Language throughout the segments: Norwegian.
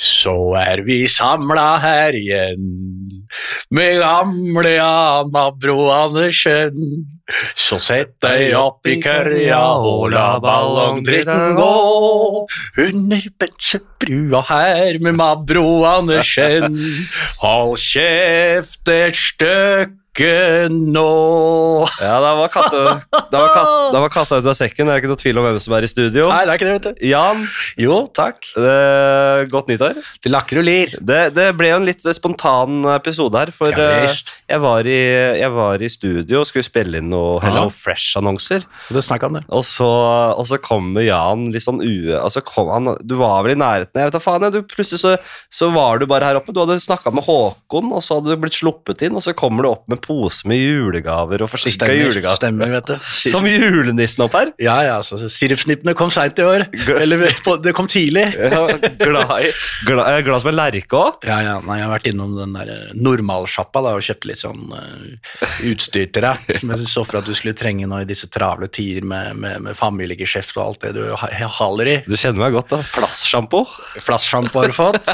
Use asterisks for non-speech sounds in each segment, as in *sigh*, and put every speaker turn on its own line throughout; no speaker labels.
Så er vi samla her igjen med gamle Jan Mabro Andersen. Så sett deg opp i kørja og la ballongdritten gå. Under bensebrua her med Mabro Andersen. Hold kjeft et stykke nå.
Ja, da var katta, da var kat, da var katta ut av sekken. Det er ikke noe tvil om hvem som er i studio.
Nei, det er ikke det, vet du.
Jan,
Jo, takk.
eh, godt nyttår.
Det lakker og lir.
Det, det ble jo en litt spontan episode her, for
Ja,
eh,
visst.
jeg, var i, jeg var i studio og skulle spille inn noe Hello
Ja.
Fresh-annonser.
Du snakka om det.
Og så, og så kommer Jan litt sånn ue... Altså kom han, du var vel i nærheten? Jeg vet da faen, jeg, du, plutselig så, så var du bare her oppe. Du hadde snakka med Håkon, og så hadde du blitt sluppet inn, og så kommer du opp med pose med julegaver og forsinka
Stemmer,
julegaver.
stemmer, vet du. Sist-
Som julenissen opp her.
Ja, ja, så Sirupsnippene kom seint i år.
Gø-
Eller på, det kom tidlig.
Ja, glad, i, glad, jeg er glad som en lerke òg.
Ja, ja, nei, Jeg har vært innom den der eh, normalsjappa da, og kjøpt litt sånn eh, utstyr til deg. Som jeg så for at du skulle trenge nå i disse travle tider med, med, med familiegeskjeft og alt det du ha- haler i.
Du kjenner meg godt, da. Flasssjampo.
Flassjampo har du fått.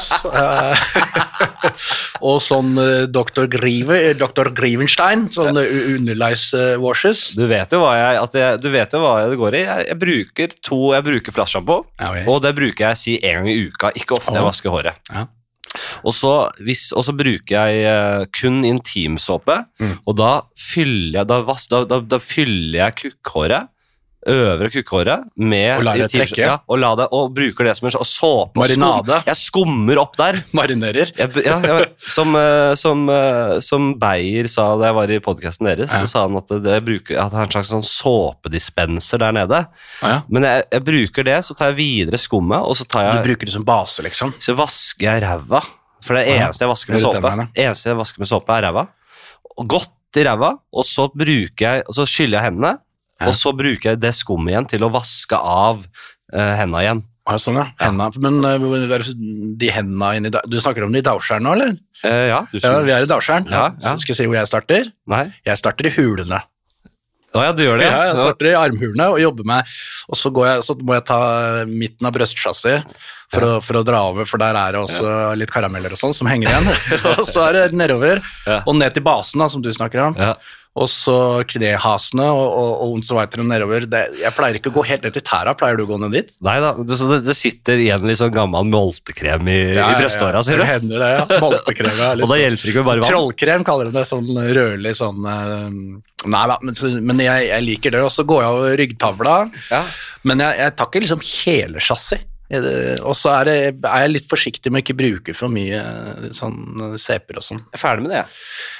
eh, og sånn eh, Dr. Grive, eh, Dr. Grivenstein, sånn eh, u- underleis eh, washes.
Du vet jo hva jeg, at jeg, du vet jo hva jeg det går i. Jeg, jeg bruker to Jeg bruker flasssjampo,
Ja, visst.
og det bruker jeg si en gang i uka. Ikke ofte jeg
Åh.
vasker håret.
Ja.
Og så, hvis, og så bruker jeg eh, kun intimsåpe,
Mm.
og da fyller jeg, da, vas, da, da, da fyller jeg kukkhåret, øvre kukkhåret, med
Og lar det
intimsåpe-
trekke?
Ja, og, la det, og bruker det som en sånn og såpe. og skum-
Marinade?
Jeg skummer opp der.
Marinerer.
Jeg, b- ja, jeg, som, eh, som, eh, som Beyer sa da jeg var i podkasten deres,
Ja.
så sa han at det, det bruker, at det er en slags sånn såpedispenser der nede.
Ah, ja.
Men jeg, jeg bruker det, så tar jeg videre skummet, og så tar jeg
Du bruker det som base, liksom.
så vasker jeg ræva. For det
Ja,
eneste jeg vasker
det
med
er
såpe,
tennene.
eneste jeg vasker med såpe er ræva. Og Godt i ræva, og så, bruker jeg, og så skyller jeg hendene,
Ja.
og så bruker jeg det skummet igjen til å vaske av eh, hendene igjen.
Ja, sånn, ja. Henda. Men eh, hvor er det- de hendene inni da- Du snakker om de i Dauskjern nå, eller?
Eh, ja,
Ja,
du skulle
vi er i Dauskjern.
Ja, ja.
Så Skal jeg si hvor jeg starter?
Nei.
Jeg starter i hulene.
Å ja, du gjør det?
Ja, jeg
Nå-
starter i armhulene og jobber meg Og så, går jeg, så må jeg ta eh, midten av brystsjassiet for, å- for å dra over, for der er det også litt karameller og sånn som henger
*laughs*
igjen. *laughs* og så er det nedover,
Ja.
og ned til basen, da, som du snakker om.
ja.
Og så knehasene og, og, og onsdagsviteren nedover. Det, jeg pleier ikke å gå helt ned til tæra. Pleier du å gå ned dit?
Nei da, du, så det, det sitter igjen litt sånn gammel moltekrem i, i bryståra, sier
Det
du?
hender det, ja. Boltekrem, ja. litt
Og da
sånn.
hjelper det ikke med bare vann?
Trollkrem kaller de det, sånn rødlig sånn eh, Nei da, men, så- men jeg, jeg liker det. Og så går jeg over ryggtavla,
Ja.
men jeg, jeg tar ikke liksom hele chassis. Er det- Og så er, det- er jeg litt forsiktig med å ikke bruke for mye eh, sånn eh, seper og sånn.
Jeg er ferdig med det, jeg.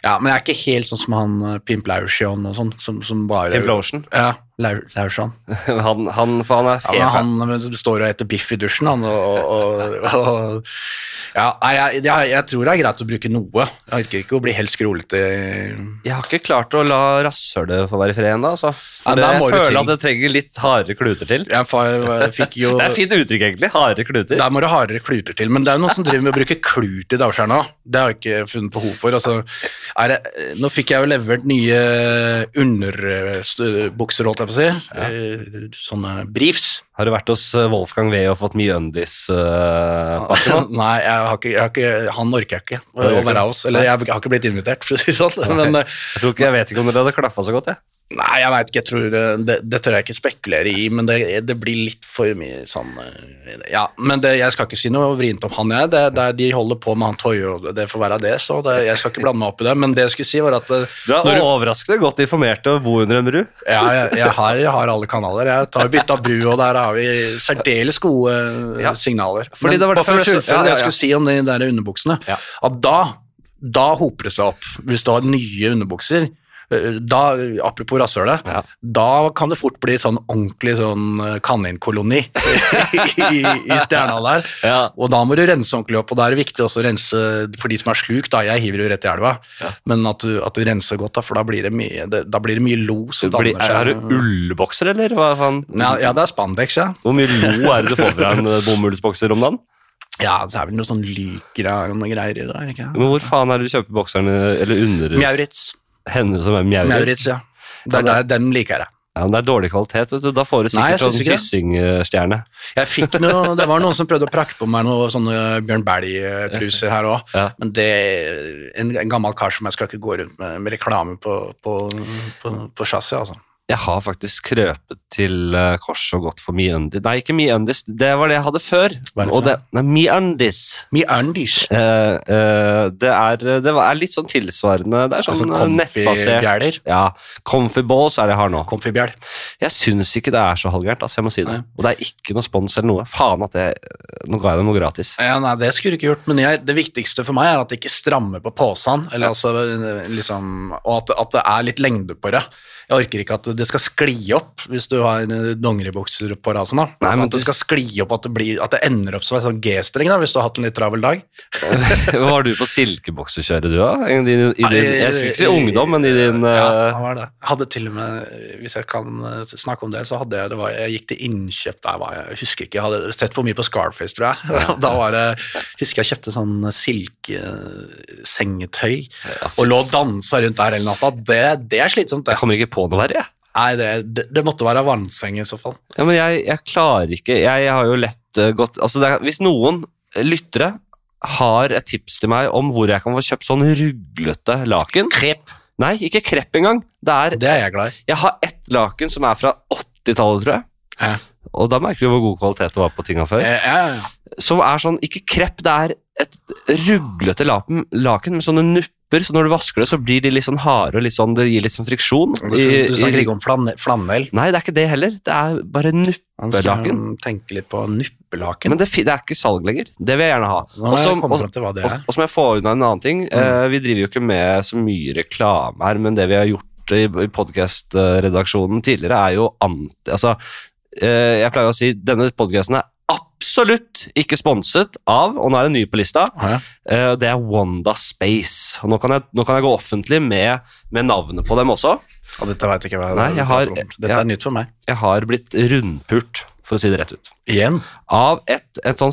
Ja, men jeg er ikke helt sånn som han eh, Pimp Laursion og sånn, som, som bare
Pimp Lotion.
Ja, Lau- Laursion.
*laughs* Han, han, for han er
Ja, men han men som står og eter biff i dusjen, han, og, og, og Ja, nei, jeg, jeg, jeg tror det er greit å bruke noe. Jeg orker ikke å bli helt skrolete.
Jeg har ikke klart å la rasshølet få være i fred ennå, altså. For
Ja, der
det-
må
jeg
du
føler
til.
at det trenger litt hardere kluter til.
Jeg fa- fikk jo
*laughs* Det er et fint uttrykk, egentlig. Hardere kluter.
Der må det hardere kluter til, men det er jo noen som driver med å bruke klut i Davskjær nå. Det har jeg ikke funnet behov for. Altså, er det, nå fikk jeg jo levert nye underbukser, holdt jeg på å si. Eh, Sånne briefs.
Har du vært hos eh, Wolfgang Wee og fått mye øndis? eh, bak-
*laughs* Nei, jeg har ikke, jeg har ikke, han orker jeg ikke å
gjør ikke
være
det.
hos. Eller jeg har ikke blitt invitert, for å si det sånn. Men, eh,
jeg, tror ikke, jeg vet ikke om dere hadde klaffa så godt, jeg.
Nei, jeg veit ikke. jeg tror eh, det, det tør jeg ikke spekulere i, men det, det blir litt for mye sånn eh, Ja, men det, jeg skal ikke si noe vrient om han, jeg. Det, det, er- de holder på med han Toyo, og det får være det, så det, jeg skal ikke blande meg opp i det. Men det jeg skulle si, var at eh,
Du er
når du,
overraskende godt informert til å bo under en bru.
ja, jeg, jeg, har, jeg har alle kanaler. Jeg tar bytta bru, og der har vi særdeles gode eh,
Ja.
signaler.
Fordi det var
bare for å
derfor jeg ble så-
fullføre
ja, ja,
det jeg
ja.
skulle si om de der underbuksene,
Ja.
at da, da hoper det seg opp. Hvis du har nye underbukser, eh, da, apropos rasshølet,
Ja.
da kan det fort bli sånn ordentlig sånn eh, kaninkoloni *laughs* i, i stjerna der.
Ja.
Og da må du rense ordentlig opp, og da er det viktig også å rense for de som er sluk, da jeg hiver jo rett i elva, men at du, at du renser godt da, for da blir det mye, det, da blir det mye lo som
Blir,
danner
er, er
seg.
du ullbokser, eller? Hva faen?
Ja, ja, det er spandex, ja.
Hvor mye lo er det du får fra en eh, bomullsbokser om dagen?
Ja, så er det vel noe sånn lykra og noen greier i det der, ikke?
Men hvor faen er det du kjøper bokserne, eller under
Mjauritz.
henne som er mjauer?
Mjauritz, ja. Det er der, dem liker jeg.
Ja, men det er dårlig kvalitet, vet du. Da får du
Nei, jeg
sikkert
synes
sånn
ikke det.
kryssingstjerne.
Jeg fikk noe, Det var noen som prøvde å prakke på meg noen sånne Bjørn Bælie-truser her òg.
Ja.
Men det en, en gammel kar som jeg skal ikke gå rundt med, med reklame på, på, på, på chassis, altså.
Jeg har faktisk krøpet til eh, korset og gått for MeUndis. Nei, ikke MeUndis, det var det jeg hadde før.
Hva er det for
Og det, nei, MeUndis.
Me undies.
Eh, eh, det er, det var- er litt sånn tilsvarende. Det er sånn,
Altså
eh, nettbasert.
comfy-bjæler.
Ja, Comfy balls er det jeg har nå.
Comfy-bjæl.
Jeg syns ikke det er så halvgærent. Altså, jeg må si det.
Nei.
Og det er ikke noe spons eller noe. Faen at jeg, Nå ga jeg dem noe gratis. *laughs*
Ja, nei, det skulle du ikke gjort, men jeg, det viktigste for meg er at det ikke strammer på posen, eller altså, liksom, og at, at det er litt lengde på det. Jeg orker ikke at det skal skli opp hvis du har eh, dongeribukser på deg og sånn. da.
Nei,
Altså,
men
at det
du-
skal skli opp, at det, blir, at det ender opp som en sånn G-streng da, hvis du har hatt en litt travel dag.
Var du på silkeboksekjøret du òg? I din, i din, jeg skal ikke si ungdom, men i din
Ja,
eh,
det var det. Jeg hadde til og med, hvis jeg kan eh, snakke om det, så hadde jeg det var, Jeg gikk til innkjøp der, var jeg, jeg husker ikke, jeg hadde sett for mye på Scarface, tror jeg. *laughs* Da var det, husker jeg kjøpte sånn silkesengetøy og lå og dansa rundt der hele natta. Det, det er slitsomt,
Jeg
det.
kommer ikke på noe verre, jeg.
Nei, det, det, det måtte være vannseng i så fall.
Ja, men jeg, jeg klarer ikke Jeg har jo lett eh, gått altså det er, Hvis noen lyttere har et tips til meg om hvor jeg kan få kjøpt sånn ruglete laken
Krep.
Nei, ikke krepp engang. Det er,
Det er jeg glad i.
jeg har ett laken som er fra 80-tallet, tror jeg.
Ja.
Og da merker du hvor god kvalitet det var på tinga før.
Eh, ja, ja, ja.
Som er sånn, ikke krepp, det er et ruglete laken, laken med sånne nupper, så når du vasker det, så blir de litt sånn harde og litt sånn, det gir litt sånn friksjon.
Du,
i-
du snakker
i-
ikke om flanell. flanell.
Nei, det er ikke det heller. Det er bare
Han skal
nuppelaken.
um, tenke litt på nuppelaken.
Men det, fi- det er ikke salg lenger. Det vil jeg gjerne ha.
Nå
Og
har jeg
som-
kommet
og-
frem til hva det Mm.
og-
er.
og så må jeg få unna en annen ting. Eh, vi driver jo ikke med så mye reklame her, men det vi har gjort i, i podkastredaksjonen tidligere, er jo anti... Altså, eh, jeg pleier å si denne podkasten er absolutt ikke sponset av, og nå er det ny på lista,
Ja.
eh, det er Wanda Space. Og nå kan jeg, nå kan jeg gå offentlig med, med navnet på dem også.
Og dette vet jeg ikke hva
Nei, jeg har-
prater om. Dette
ja.
er nytt for meg.
Jeg har blitt rundpult, for å si det rett ut.
Igjen.
av et, et sånn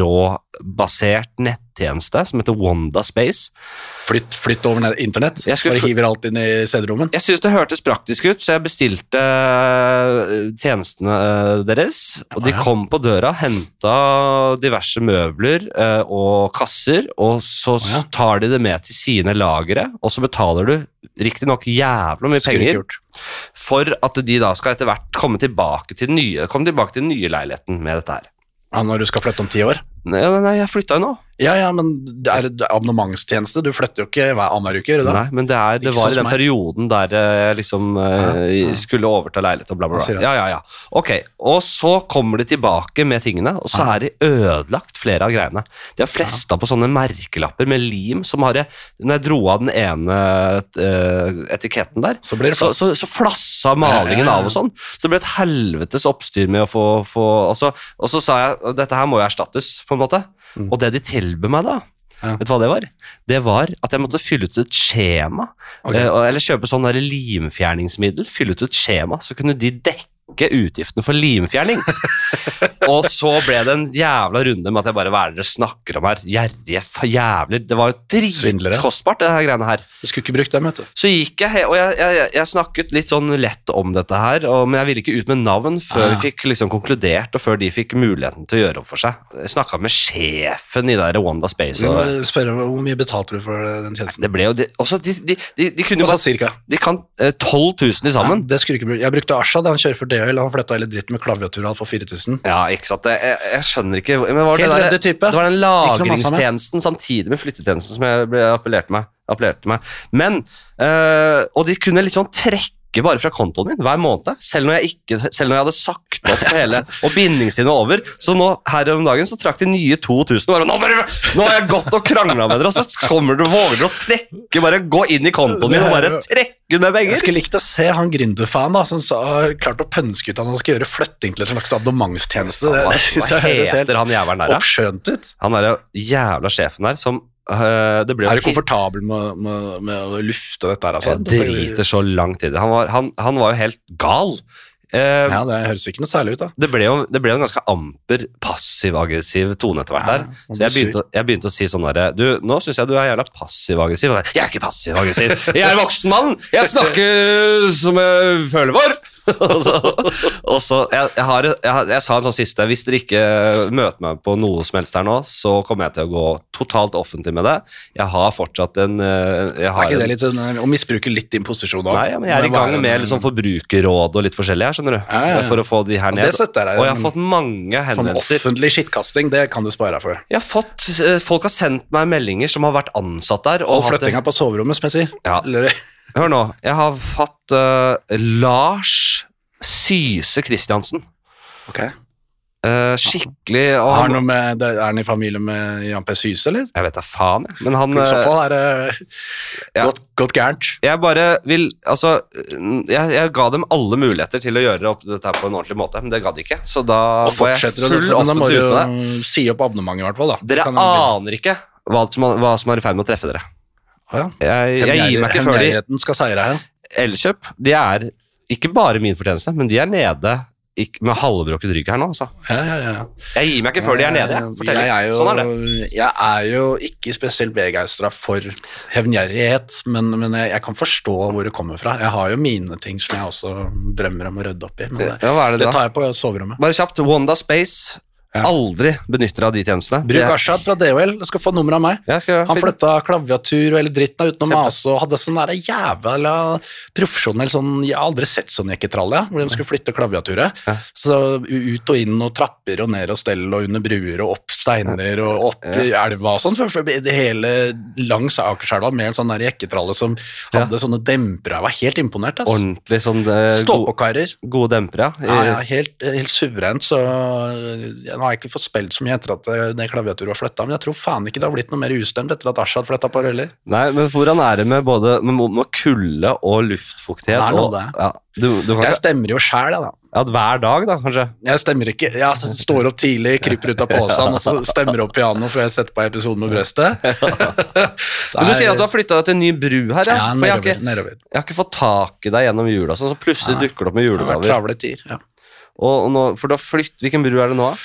flyttebyrå-basert nettjeneste som heter Wanda Space.
Flytt, flytt over ned- internett.
Jeg skulle
Bare
fly-
hiver alt inn i CD-rommet.
Jeg syns det hørtes praktisk ut, så jeg bestilte eh, tjenestene eh, deres. Og de
Ja.
kom på døra, henta diverse møbler eh, og kasser, og så s-
Ja.
tar de det med til sine lagre, og så betaler du riktignok jævla mye
Skulle ikke
penger
gjort.
for at de da skal etter hvert komme tilbake til den nye, komme tilbake til den nye leiligheten med dette her.
Ja, når du skal flytte om ti år.
Nei, nei, jeg flytta jo nå.
Ja, ja, men det er det er abonnementstjeneste. Du flytter jo ikke hver annenhver uke. gjør du det?
Nei, men det, er, det
Ikke sånn
var i den
som meg.
perioden der eh, jeg liksom eh, skulle overta leilighet og bla, bla,
Hva sier
bla.
du?
Ja, ja, ja. Ok, og så kommer de tilbake med tingene, og så er de ødelagt, flere av greiene. De har flesta på sånne merkelapper med lim som har jeg Når jeg dro av den ene eh, etiketten der,
Så blir det
så,
plass.
så, så flassa malingen
Ja, ja, ja.
av og sånn. Så det ble et helvetes oppstyr med å få, få altså, Og så sa jeg dette her må jo erstattes, på en måte. Og det de tilbød meg da,
Mm. Ja.
vet du hva det var? Det var at jeg måtte fylle ut et skjema.
Ok.
eh, og- eller kjøpe sånn der limfjerningsmiddel. Fylle ut et skjema, så kunne de dekke utgiftene for
*laughs*
limfjerning. og så ble det en jævla runde med at jeg bare Hva er det dere snakker om her? Gjerrige fa- jævler. Det var jo
Svindlere.
dritkostbart, det her greiene her.
Du skulle ikke brukt dem, vet du.
Så gikk jeg, he- og jeg, jeg, jeg snakket litt sånn lett om dette her, og, men jeg ville ikke ut med navn før
Ah.
vi fikk liksom konkludert, og før de fikk muligheten til å gjøre opp for seg. Jeg snakket med sjefen i det der Wanda Space,
Du må
og
spørre meg, Hvor mye betalte du for den tjenesten?
det ble jo, de, også de, de, de, de kunne jo
Altså,
bare,
cirka.
de kan eh, 12 000 i sammen.
Ja, det skulle du ikke brukt. Jeg brukte Asha, da han kjører for DHL. Han flytta hele dritten med klaviatur og alt for 4000.
Ja, ikke sant, jeg, jeg, jeg skjønner ikke, men var det,
Helt
der,
rødde type.
det var den
noe masse med.
lagringstjenesten samtidig med flyttetjenesten som jeg ble appellert meg, appellerte meg. Men, eh, og de kunne liksom trekke bare fra kontoen min hver måned, selv når jeg, ikke, selv når jeg hadde sagt opp
*laughs*
hele, og bindingstiden var over, så nå, her om dagen, så trakk de nye 2000, og bare, nå, bare, nå har jeg gått og kranglet med dere, og så kommer du, våger du å trekke, bare gå inn i kontoen min og bare trekke ut med
Jeg
penger.
skulle likt å se han gründerfaen da, som sa, klarte å pønske ut at han skal gjøre flytting til en slags abonnementstjeneste. Det, det synes jeg
Hva
høres helt
heter han jæveren der, da?
oppskjønt ut.
Han er jo jævla sjefen der, som øh, det ble jo
Er du
hit-
komfortabel med, med, med å lufte dette her, altså?
Jeg driter så langt i det. Han var, han, han var jo helt gal. Eh,
Ja, det høres ikke noe særlig ut, da.
det, ble jo, det ble jo en ganske amper, passiv-aggressiv tone etter hvert
Ja,
der.
man
Så jeg
blir
begynte, å- jeg begynte å si sånn derre Du, nå syns jeg du er jævla passiv-aggressiv. Og jeg, Jeg er ikke passiv-aggressiv! Jeg er en voksen mann! Jeg snakker som jeg føler for! *laughs* og så, og så jeg, jeg, har, jeg, har- jeg sa en sånn siste Hvis dere ikke møter meg på noe som helst her nå, så kommer jeg til å gå totalt offentlig med det. Jeg har fortsatt en eh, jeg har
Er ikke
en-
det litt sånn eh, å misbruke litt din posisjon òg?
Nei, ja, men jeg er i gang med liksom forbrukerråd og litt forskjellig her, skjønner du.
Ja, ja, ja.
For å få de her
Og
ned.
det støtter jeg.
Og jeg har fått mange
Sånn
henvendelser.
offentlig skittkasting, det kan du spare deg for.
Jeg har fått, eh, Folk har sendt meg meldinger som har vært ansatt der.
Og
hatt-
flyttinga på soverommet, som jeg sier.
Ja. *laughs*
Eller,
Hør nå. Jeg har hatt eh, Lars Syse Christiansen.
ok.
Eh, skikkelig og
Har
han,
han noe med, det- er han i familie med Jan P. Syse, eller?
Jeg vet da faen, jeg. Men han
I så
eh,
fall er det
ja.
godt, godt gærent.
Jeg bare vil Altså, n- jeg, jeg ga dem alle muligheter til å gjøre opp dette her på en ordentlig måte, men det ga de ikke. Så da
Og
var jeg
fortsetter å liksom,
full
men da må du
offentlig ute med det.
jo si opp abonnementet, i hvert fall. da.
Dere
Kan jo
aner ikke hva som, hva som er i ferd med å treffe dere.
bli- Å ja.
Jeg, jeg gir meg ikke før de
Hemmeligheten skal seire her.
Elkjøp, de er ikke bare min fortjeneste, men de er nede ikk- med halvbråket rygg her nå, altså.
Ja, ja, ja. Eh,
Jeg gir meg ikke før de er nede. jeg. Fortell.
Jeg er jo,
sånn er det.
Jeg er jo ikke spesielt begeistra for hevngjerrighet, men, men jeg, jeg kan forstå hvor det kommer fra. Jeg har jo mine ting som jeg også drømmer om å rydde opp i, men det,
Ja, hva er det,
det
da?
tar jeg på soverommet.
Bare kjapt. Wanda Space.
Ja.
Aldri benytter av de tjenestene.
Bruk
Det-
Ashad fra DHL, du skal få nummer av meg.
Ja, skal jeg
Han
finne-
flytta klaviatur og hele dritten uten å
Kjempe.
mase og hadde sånn der jævla profesjonell sånn Jeg har aldri sett sånn jekketralle, hvor de skulle flytte klaviaturet.
Ja.
Så ut og inn og trapper og ned og stell og under bruer og opp steiner og opp i elva og sånn. For- for Det hele langs Akerselva med en sånn der jekketralle som hadde sånne dempere. Jeg var helt imponert. ass.
Ordentlig sånn eh, go-
Ståpåkarer.
gode dempere, ja.
Ja,
I-
ja, helt, helt suverent, så jeg, nå har jeg ikke fått spilt så mye etter at eh, det klaviaturet var flytta, men jeg tror faen ikke det har blitt noe mer ustemt etter at Ashad flytta på heller.
Nei, men hvordan er det med både med, med kulde og
Det
luftfuktighet?
er noe
og-
det.
Ja, du, du kan
Jeg
ikke,
stemmer jo sjæl, jeg, da.
ja, hver dag, da, kanskje?
Jeg stemmer ikke. Jeg altså, står opp tidlig, kryper ut av posen, og så stemmer jeg opp pianoet før jeg setter på episoden med brøstet.
Men du sier at du har flytta til en ny bru her, ja?
ja,
For jeg
nedover,
har, ikke,
nedover.
jeg har ikke fått tak i deg gjennom jula, sånn, så plutselig
Nei.
dukker det opp med
Det har vært
julegaver.
travle tider. Ja.
Og, og nå, for da flytt, Hvilken bru er det nå? da?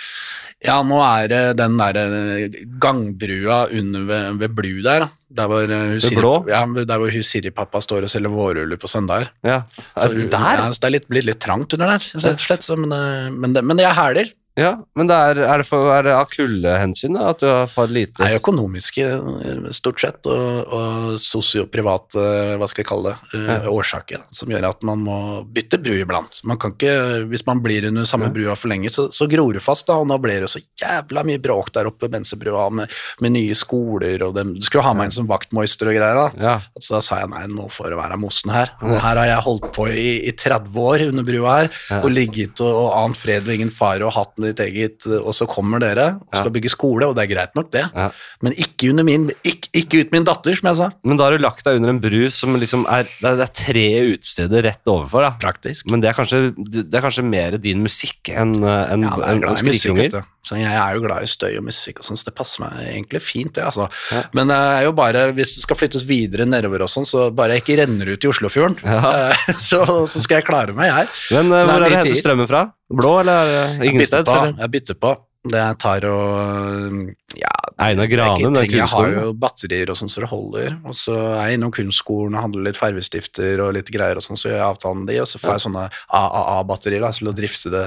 ja, nå er det den der eh, gangbrua under ved, ved Blu der, da. der hvor, eh, hun
Ved
Siri-
Blå?
ja, der hvor hun Siri-pappa står og selger vårruller på søndager.
Ja.
Så,
Er det
Ja,
der?
så det er litt, blitt litt trangt under der, rett og slett. Så, men, eh, men, det, men det er hæler.
Ja, men det er, er, det for, er det av kuldehensyn da, at du har for lite
Det er økonomiske, eh, stort sett, og, og sosioprivate, eh, hva skal jeg kalle det, eh, årsaker, da, som gjør at man må bytte bru iblant. Man kan ikke, hvis man blir under samme brua for lenge, så, så gror det fast, da, og nå blir det så jævla mye bråk der oppe ved Bensebrua med, med nye skoler, og de skulle ha meg inn som vaktmeister og greier, da.
Ja.
Så da sa jeg nei, nå får det være mosen her. Og her har jeg holdt på i, i 30 år under brua her,
Ja.
og ligget og, og ant fred med ingen fare og hatt med ditt eget, eh, og så kommer dere og skal bygge skole, og det er greit nok det,
Ja.
men ikke, under min, ikke, ikke ut min datter, som jeg sa.
Men da har du lagt deg under en bru som liksom er Det er, det er tre utesteder rett overfor, da.
Praktisk.
Men det er kanskje, det er kanskje mer din musikk enn en,
Ja, det er glad
en,
i musikk, vet
skrikeunger?
du. Så jeg er jo glad i støy og musikk og sånn, så det passer meg egentlig fint, det, altså.
Ja.
Men det er jo bare, hvis det skal flyttes videre nedover og sånn, så bare jeg ikke renner ut i Oslofjorden,
Ja.
eh, *laughs* så, så skal jeg klare meg, jeg.
Men eh,
Det er
hvor er det
mye
hentet
tid.
strømmen fra? Blå, eller er det
Jeg bytter
Ingensteds?
på,
eller?
Jeg bytter på. Det jeg tar og ja,
Einar
jeg,
Grane,
trenger-
den
jeg har
kunstskolen?
jo batterier og sånn så det holder. Og så er jeg innom kunstskolen og handler litt fargestifter og litt greier, og sånn, så gjør jeg avtalen med de, og så får jeg sånne AAA-batterier da, til å drifte det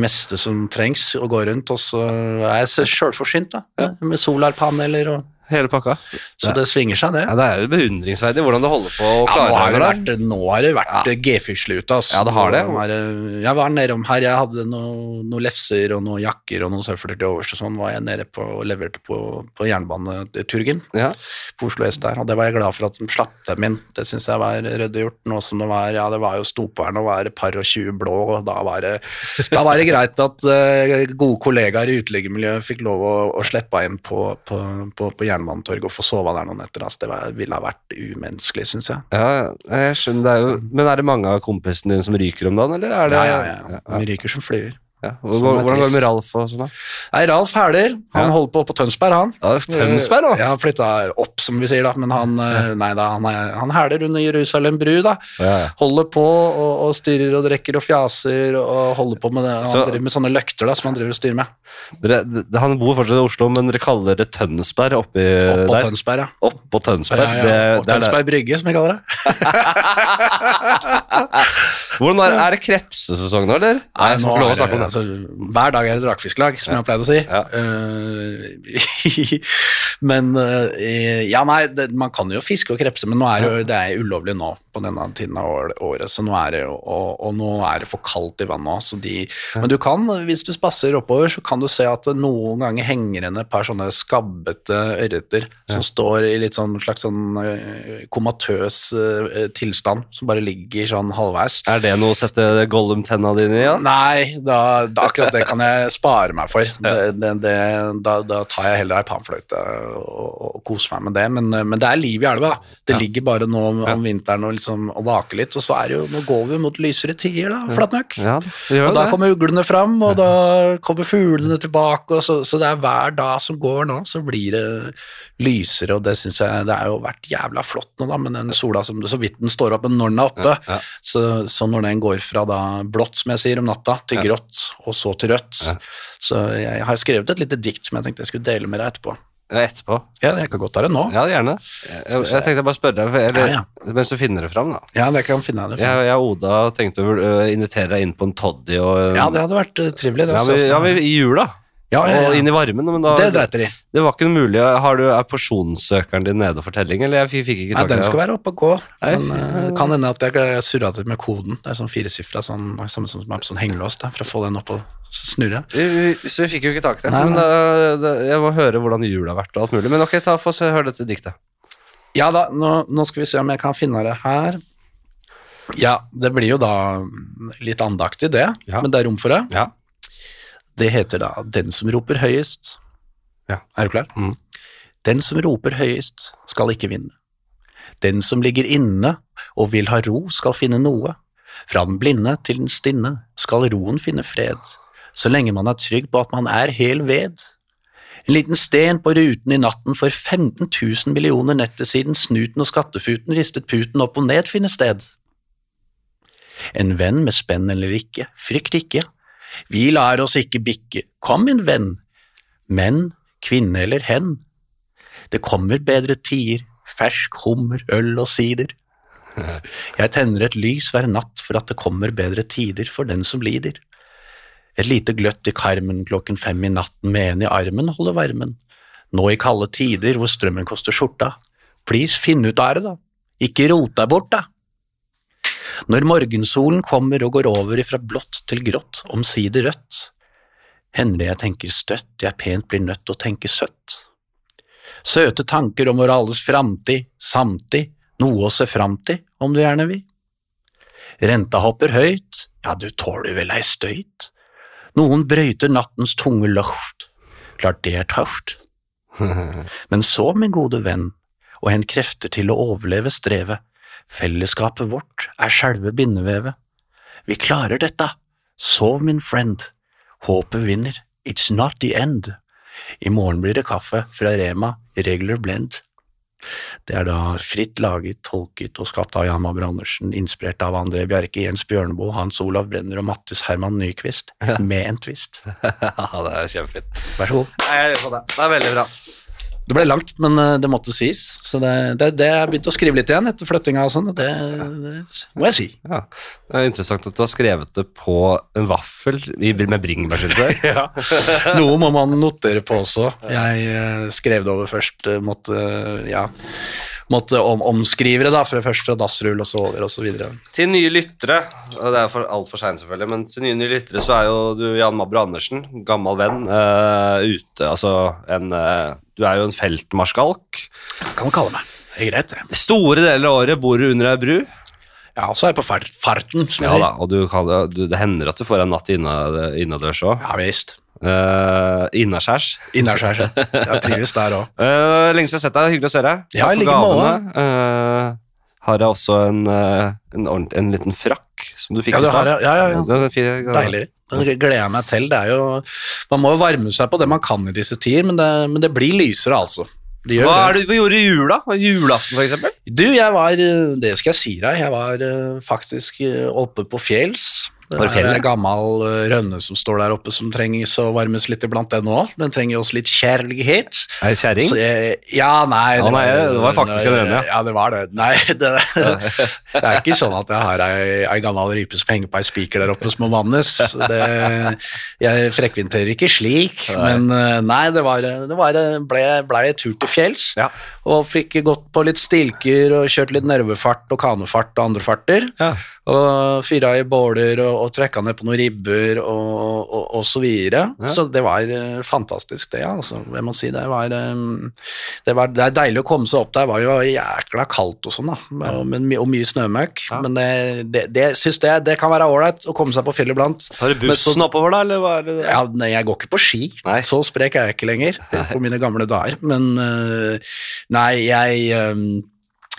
meste som trengs, og gå rundt. Og så er jeg så sjølforsynt, da, med solarpaneler og
Hele pakka?
Så det svinger seg, det.
Ja, det er jo beundringsverdig hvordan du holder på å
Ja, nå har
klare
det
deg.
vært, nå har det vært G-fysle-ute, altså.
Ja, det har det.
Nå er Jeg var nedom her, jeg hadde noen noe lefser og noen jakker og noen surfer til overs og sånn, var jeg nede på og leverte på, på jernbaneturgen
da. Ja.
på Oslo S der, og det var jeg glad for at de slapp dem inn. Det synes jeg var ryddig gjort, nå som det var, ja, det var jo stopvern og var par og 20 blå, og da var det, da var det greit at eh, gode kollegaer i uteliggemiljøet fikk lov å, å slippe inn på, på, på, på Jernbanetorget og få sove der noen netter, altså. Det var, ville ha vært umenneskelig, synes jeg.
Ja,
Sånn.
jeg skjønner det er jo Men er det mange av kompisene dine som ryker om dagen, eller er det
Ja, ja, ja. Vi ryker som fluer.
Ja. Hvor-
Sånn er
Hvordan går det
trist.
med Ralf og sånn, da?
Nei, Ralf Hæler, han
Ja.
holder på på Tønsberg, han.
Ja, Tønsberg, da.
Ja, han flytta opp, som vi sier, da, men han, eh, nei, da, han, er- han hæler under Jerusalem bru, da.
Ja, ja.
Holder på og, og styrer og drikker og fjaser og holder på med det. Han
Så-
driver med sånne løkter da, som han driver og styrer med.
Dere, d- han bor fortsatt i Oslo, men dere kaller det Tønsberg oppi
Oppå
Eh, der?
Tønsberg, ja.
Oppå Tønsberg.
Ja, ja. og
Det, det er det.
Tønsberg Brygge, som vi kaller det.
Hvordan er, er det krepsesesong nå, eller? Nei, jeg
nå
skal få lov
er
å snakke om det.
altså, hver dag er det rakfisklag, som jeg pleide å si.
Ja.
Eh, *laughs* men eh, Ja, nei, det, man kan jo fiske og krepse, men nå er det, jo- det er ulovlig nå på denne tiden av år- året. Så nå er det, jo- og, og nå er det for kaldt i vannet. Så de, Men du kan, hvis du spasser oppover, så kan du se at det noen ganger henger igjen et par sånne skabbete ørreter som står i litt sånn slags sånn eh, komatøs eh, tilstand, som bare ligger sånn halvveis.
Er det noe å sette Gollum-tenna dine i? Ja?
Nei, da, da akkurat det kan jeg spare meg for. Det, det, det, da, da tar jeg heller ei panfløyte og, og koser meg med det. Men, men det er liv i elva. da. Det ligger bare nå om, om vinteren og, liksom, og vaker litt. Og så er det jo, nå går vi jo mot lysere tider, da, Flatnøkk.
Ja, det gjør
Og
jo
da
det.
kommer uglene fram, og da kommer fuglene tilbake. Og så, så det er hver dag som går nå, så blir det lysere, og det syns jeg Det har jo vært jævla flott nå, da, men den sola som så vidt den står opp, men når den er oppe
Ja, ja.
Så, så når den går fra da blått, som jeg sier, om natta, til grått, og så til rødt
Ja.
Så jeg har skrevet et lite dikt som jeg tenkte jeg skulle dele med deg etterpå.
Ja, etterpå.
Ja, jeg kan godt ta det nå. Ja,
Ja, gjerne. Jeg, jeg, jeg tenkte jeg bare spørre deg, for jeg,
Ja,
mens du finner det fram, da.
det kan jeg finne deg for.
Jeg, jeg og Oda tenkte å øh, invitere deg inn på en toddy og øh,
Ja, det hadde vært eh, trivelig. Det,
ja,
altså.
vi, ja, vi, i jula.
Ja, ja, ja.
Og inn i varmen. Men da,
det dreit dere i.
det var ikke mulig. Har du, er porsjonssøkeren din nede for telling, eller? Jeg fikk, fikk ikke
Nei,
tak i
den skal være oppe og gå.
Nei,
Men
fy-
eh, kan hende at jeg surra til med koden. Det er sånn firesifra, sånn, samme som som er på sånn hengelås, der, for å få den opp og snurre.
Vi- vi- Så vi fikk jo ikke tak i det.
Nei,
men
nei.
øh, det- jeg må høre hvordan jula har vært og alt mulig. Men ok, ta, få se, hør dette diktet.
Ja da, nå, nå skal vi se om jeg kan finne det her. Ja, det blir jo da litt andaktig, det.
Ja.
Men det er rom for det.
Ja.
Det heter da 'Den som roper høyest'.
Ja.
Er du klar?
Mm.
Den som roper høyest, skal ikke vinne. Den som ligger inne og vil ha ro, skal finne noe. Fra den blinde til den stinne skal roen finne fred, så lenge man er trygg på at man er hel ved. En liten sten på ruten i natten for 15 000 millioner netter siden snuten og skattefuten ristet puten opp og ned finner sted. En venn med spenn eller ikke, frykt ikke, vi lar oss ikke bikke, kom min venn, menn, kvinne eller hen. Det kommer bedre tider, fersk hummer, øl og sider. Jeg tenner et lys hver natt for at det kommer bedre tider for den som lider. Et lite gløtt i karmen klokken fem i natten med en i armen holder varmen. Nå i kalde tider hvor strømmen koster skjorta. Please, finn ut av det, da. Ikke rot deg bort, da. Når morgensolen kommer og går over ifra blått til grått, omsider rødt, hender det jeg tenker støtt, jeg pent blir nødt til å tenke søtt. Søte tanker om vår alles framtid, samtid, noe å se fram til, om du gjerne vil. Renta hopper høyt, ja, du tåler vel ei støyt. Noen brøyter nattens tunge luft, klart det er tøft. Men så, min gode venn, og hen krefter til å overleve strevet, fellesskapet vårt er selve bindevevet. Vi klarer dette, sov min friend, håpet vinner, it's not the end. I morgen blir det kaffe fra Rema, regular blend. Det er da fritt laget, tolket og skapt av Jan Mabber Andersen, inspirert av André Bjerke, Jens Bjørneboe, Hans Olav Brenner og Mattis Herman Nyquist, med en twist.
*laughs* ja, det er kjempefint.
Vær så god.
Nei, jeg lurer på det. Det er veldig bra.
Det ble langt, men eh, det måtte sies. Så det, det, det jeg begynte å skrive litt igjen etter flyttinga og sånn, og det, det må jeg si.
Ja. Det er interessant at du har skrevet det på en vaffel i- med bringebærsyltetøy. *laughs*
Noe må man notere på også. Jeg eh, skrev det over først, eh, måtte, eh, ja, måtte om, omskrive det da, fra- først fra dassrull og så over og så videre.
til nye lyttere, og det er for altfor seint selvfølgelig, men til nye, nye lyttere så er jo du Jan Mabro Andersen, gammel venn, eh, ute Altså en eh, Du er jo en feltmarskalk.
Kan man kalle meg. Det er greit, det.
Store deler av året bor du under ei bru.
Ja, og så er jeg på far farten, som
Ja
jeg
da,
sier.
og du kan, du, det hender at du får en natt inna- innadørs òg.
Ja visst.
Uh, Innaskjærs.
Innaskjærs. ja. Jeg trives der òg.
Eh, lenge siden jeg har sett deg. Hyggelig å se deg.
Ja, i
Takk for
like
gavene. Eh, har jeg også en, eh, en, ordent- en liten frakk som du fikk
Ja,
i
du
stad.
har det. Ja, ja, ja.
Det var en fin-
Deilig. Den gleder jeg meg til. Det er jo, man må jo varme seg på det man kan i disse tider, men det, men det blir lysere, altså. Det gjør
Hva
det.
er det vi gjorde i jula? Julaften, for eksempel?
Du, jeg var eh, Det skal jeg si deg. Jeg var eh, faktisk eh, oppe på fjells. Det
Var det
er
fjellet?
en gammel eh, rønne som står der oppe, som trengs å varmes litt iblant, den òg. Den trenger også litt kjærlighet.
Ei kjerring?
Så jeg- Ja, nei
Ja, nei, det var faktisk en rønne, ja.
Ja, det var det. Nei, *laughs* det, det er ikke sånn at jeg har ei, ei gammel rype som henger på ei spiker der oppe som må vannes. Det, jeg frekventerer ikke slik, men eh, nei, det, var, det var, ble, ble en tur til fjells.
Ja.
Og fikk gått på litt stilker og kjørt litt nervefart og kanefart og andre farter.
Ja.
Og fyra i båler og, og trekka ned på noen ribber og, og, og så videre.
Ja.
Så det var eh, fantastisk, det. altså. Jeg må si det var, eh, det var Det er deilig å komme seg opp der. Det var jo jækla kaldt og sånn, da. Og, men, my- og mye snømøkk.
Ja.
Men det, det, det syns jeg det kan være ålreit å komme seg på fjellet iblant.
Tar du
Men så-
bussen oppover, da? Eller hva er det?
Ja, nei, jeg går ikke på ski.
Nei.
Så sprek er jeg ikke lenger på mine gamle dager. Men øh, nei, jeg øhm,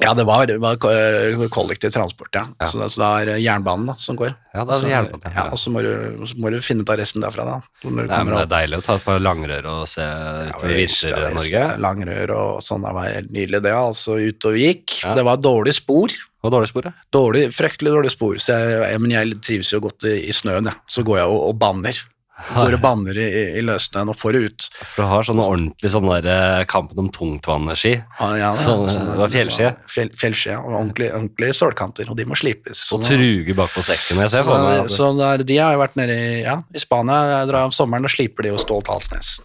Ja, det var, det var øh, kollektiv transport, ja.
Ja.
Så det, så det er jernbanen da, som går.
Ja, det er
Så-
jernbanen, Altså, ja.
ja. Og så må, du, så må du finne ut av resten derfra, da. Når du
Nei, men
kommer
det
opp.
er deilig å ta et par langrør og se utover
Ja, visst, ja, visst.
Vinter-Norge.
Langrør og sånn, det var helt nydelig, det. Altså ute og gikk.
Ja.
Det var dårlig spor.
Og dårlig spor, ja.
Dårlig, fryktelig dårlig spor, så jeg, jeg, men jeg trives jo godt i, i snøen. Ja. Så går jeg og, og banner. Går og banner i, i- i løssnøen og får det ut.
*laughs* For du har sånne ordentlig sånne der, eh, Kampen om tungtvann-ski.
Ja, Ah, ja, Altså, ja.
Sånn, det var fjellskie.
Fjell, fjellskie og ordentlig- ordentlige stålkanter, og de må slipes.
Og truge bakpå sekken. Jeg ser for meg altså.
så, så
at-
der, de har jo vært nede i, ja, i Spania, jeg drar om sommeren og sliper de hos Stål Talsnes.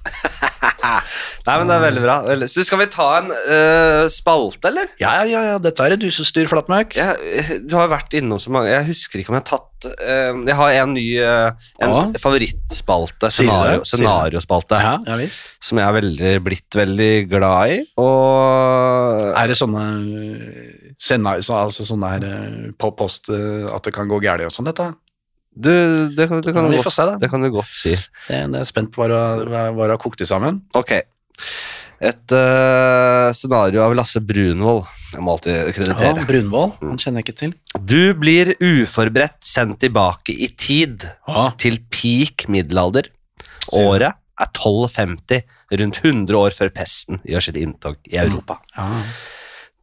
Nei, men det er veldig bra. Veldig. Så skal vi ta en eh, spalte, eller?
Ja, ja, ja, ja, dette er et dusestyr, Flatmøk.
Jeg, du har jo vært innom så mange Jeg husker ikke om jeg har tatt eh, Jeg har en ny eh, en
Ja.
favorittspalte.
Sier du
Scenario,
det? Sier du det?
scenariospalte.
Ja, ja visst.
Som jeg har veldig, blitt veldig glad i. Og
Er det sånne øh, scenar- så, altså sånne her øh, på post øh, at det kan gå gærent og sånn, dette?
du, det, kan- det,
Ja,
kan du
vi
godt,
får se, da.
det kan du godt si.
Det, det er spent på hva du har- hva du har kokt i sammen.
Ok. Et eh, scenario av Lasse Brunvoll. Jeg Mm. må alltid
Ja,
kreditere.
Brunvoll, han kjenner jeg ikke til.
Du blir uforberedt sendt tilbake i tid
Ja.
til peak middelalder.
Sier du.
Året er 1250, rundt 100 år før pesten gjør sitt inntog i
Mm.
Europa.
Ja.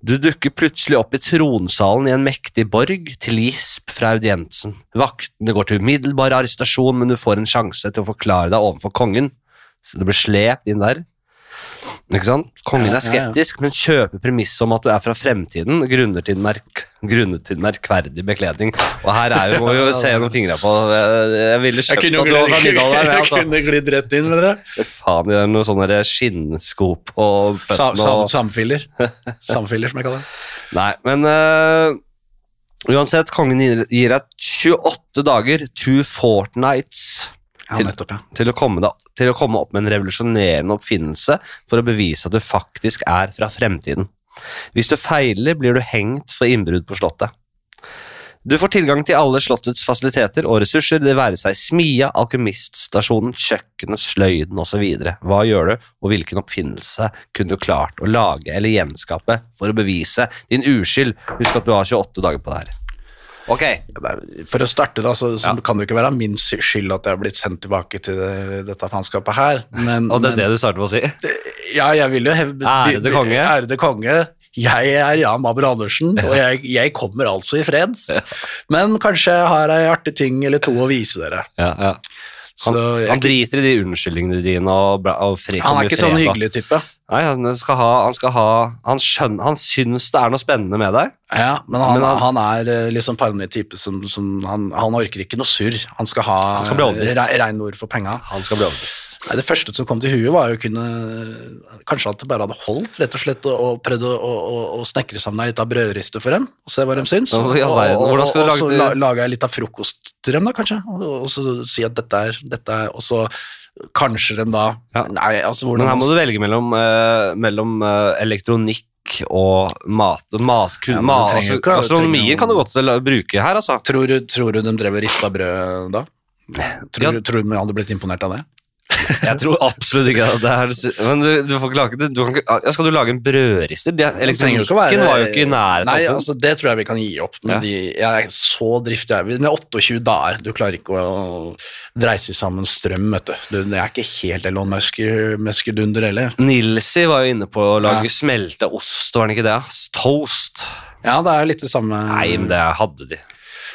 Du dukker plutselig opp i tronsalen i en mektig borg, til gisp fra audiensen. Vaktene går til umiddelbar arrestasjon, men du får en sjanse til å forklare deg overfor kongen. Så du blir slept inn der. Ikke sant? Kongen
Ja, ja,
er
ja.
skeptisk, men kjøper premisset om at du er fra fremtiden, grunnet til, merk grunnet til merkverdig bekledning. Og her er jo, må vi jo se gjennom fingra på eh, Jeg ville
Jeg
skjønt
kunne jo
at du var fra
glidd,
middelalderen,
*laughs* jeg
altså.
kunne glidd rett inn med dere.
Faen, det er noen sånne sånn der skinnsko på
Sam,
føttene
sam,
og
*laughs* samfiller. Samfiller, som jeg kaller det.
Nei, men eh, uansett, kongen gir, gir deg 28 dager, two fortnights,
Ja,
Til-
nettopp, ja.
til å, komme deg, til å komme opp med en revolusjonerende oppfinnelse for å bevise at du faktisk er fra fremtiden. Hvis du feiler, blir du hengt for innbrudd på slottet. Du får tilgang til alle slottets fasiliteter og ressurser, det være seg smia, alkymiststasjonen, kjøkkenet, sløyden osv. Hva gjør du, og hvilken oppfinnelse kunne du klart å lage eller gjenskape for å bevise din uskyld? Husk at du har 28 dager på det her. Ok,
Det er- For å starte, da, så, så
Ja.
kan det jo ikke være min sy- skyld at jeg er blitt sendt tilbake til det, dette faenskapet her. Men,
og det er
men
det du starter med å si?
ja, jeg vil jo hevde
Ærede
be- be-
konge.
Ærede konge. Jeg er Jan Mabel Andersen, og jeg, jeg kommer altså i fred. Men kanskje jeg har ei artig ting eller to å vise dere.
Ja, ja.
Så jeg,
Han driter i de unnskyldningene dine og, bra- og fri,
han er
mye
ikke sånn
fred, da.
hyggelig type.
Nei, han skal ha, han, skal ha han, skjønner, han syns det er noe spennende med deg.
Ja, men han,
Men han-
han, er eh, litt sånn paranoid type som, som han, han orker ikke noe surr. Han skal ha
Han skal bli overbevist.
re- reine ord for penga.
Han skal bli overbevist.
Nei, Det første som kom til huet, var jo å kunne Kanskje at det bare hadde holdt, rett og slett, og- og prøvd å, å, å- å snekre sammen ei lita brødriste for dem, og se hva de syns.
Ja,
Og,
i all
og,
verden,
og,
hvordan skal du
så
lage
la,
det?
lage ei lita frokost til dem, da, kanskje, og, og så si at dette er, dette er Og så kanskje dem da
Ja.
Nei, altså
Men
hvordan
her må du velge mellom, eh, mellom eh, elektronikk og mat, matkun,
Ja, men du trenger jo
mat altså,
ikke- trenger
Astronomien
jo-
kan du godt eh, la- bruke her, altså.
tror, du- tror du de drev og rista brød da? Tror,
Ja.
du- tror du de hadde blitt imponert av det?
Jeg tror absolutt ikke at det er Men du, du får ikke lage det. Du kan ikke, ja, skal du lage en brødrister? Det-
Det trenger
Elektronikken
ikke å være-
var jo ikke i nærheten.
Nei,
av det.
altså Det tror jeg vi kan gi opp. Men
Ja.
de, jeg er så driftig jeg er. Med 28 dager, du klarer ikke å dreise sammen strøm, vet du. du. Jeg er ikke helt Elon Musk- Musk-dunder heller.
Nilsi var jo inne på å lage
Ja.
smelta ost, var den ikke det? ass? Toast.
Ja, det er jo litt det samme
Nei, men det hadde de.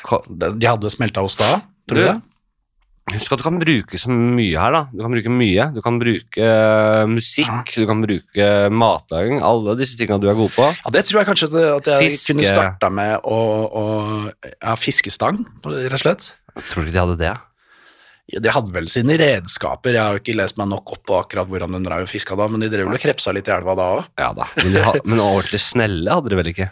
Ko-
De hadde smelta oss da, tror du
Du-
det?
Husk at du kan bruke så mye her, da. Du kan bruke mye. Du kan bruke eh, musikk, du kan bruke matlaging. Alle disse tinga du er god på.
Ja, Det tror jeg kanskje at, at jeg
Fiske.
kunne starta med å, å ja, fiskestang, rett og slett.
Jeg tror ikke de hadde det.
De hadde vel sine redskaper, jeg har jo ikke lest meg nok opp på akkurat hvordan de drev og fiska da, men de drev vel og krepsa litt i elva da òg.
Ja da. Men,
*laughs*
de ha, men ordentlig snelle hadde de vel ikke?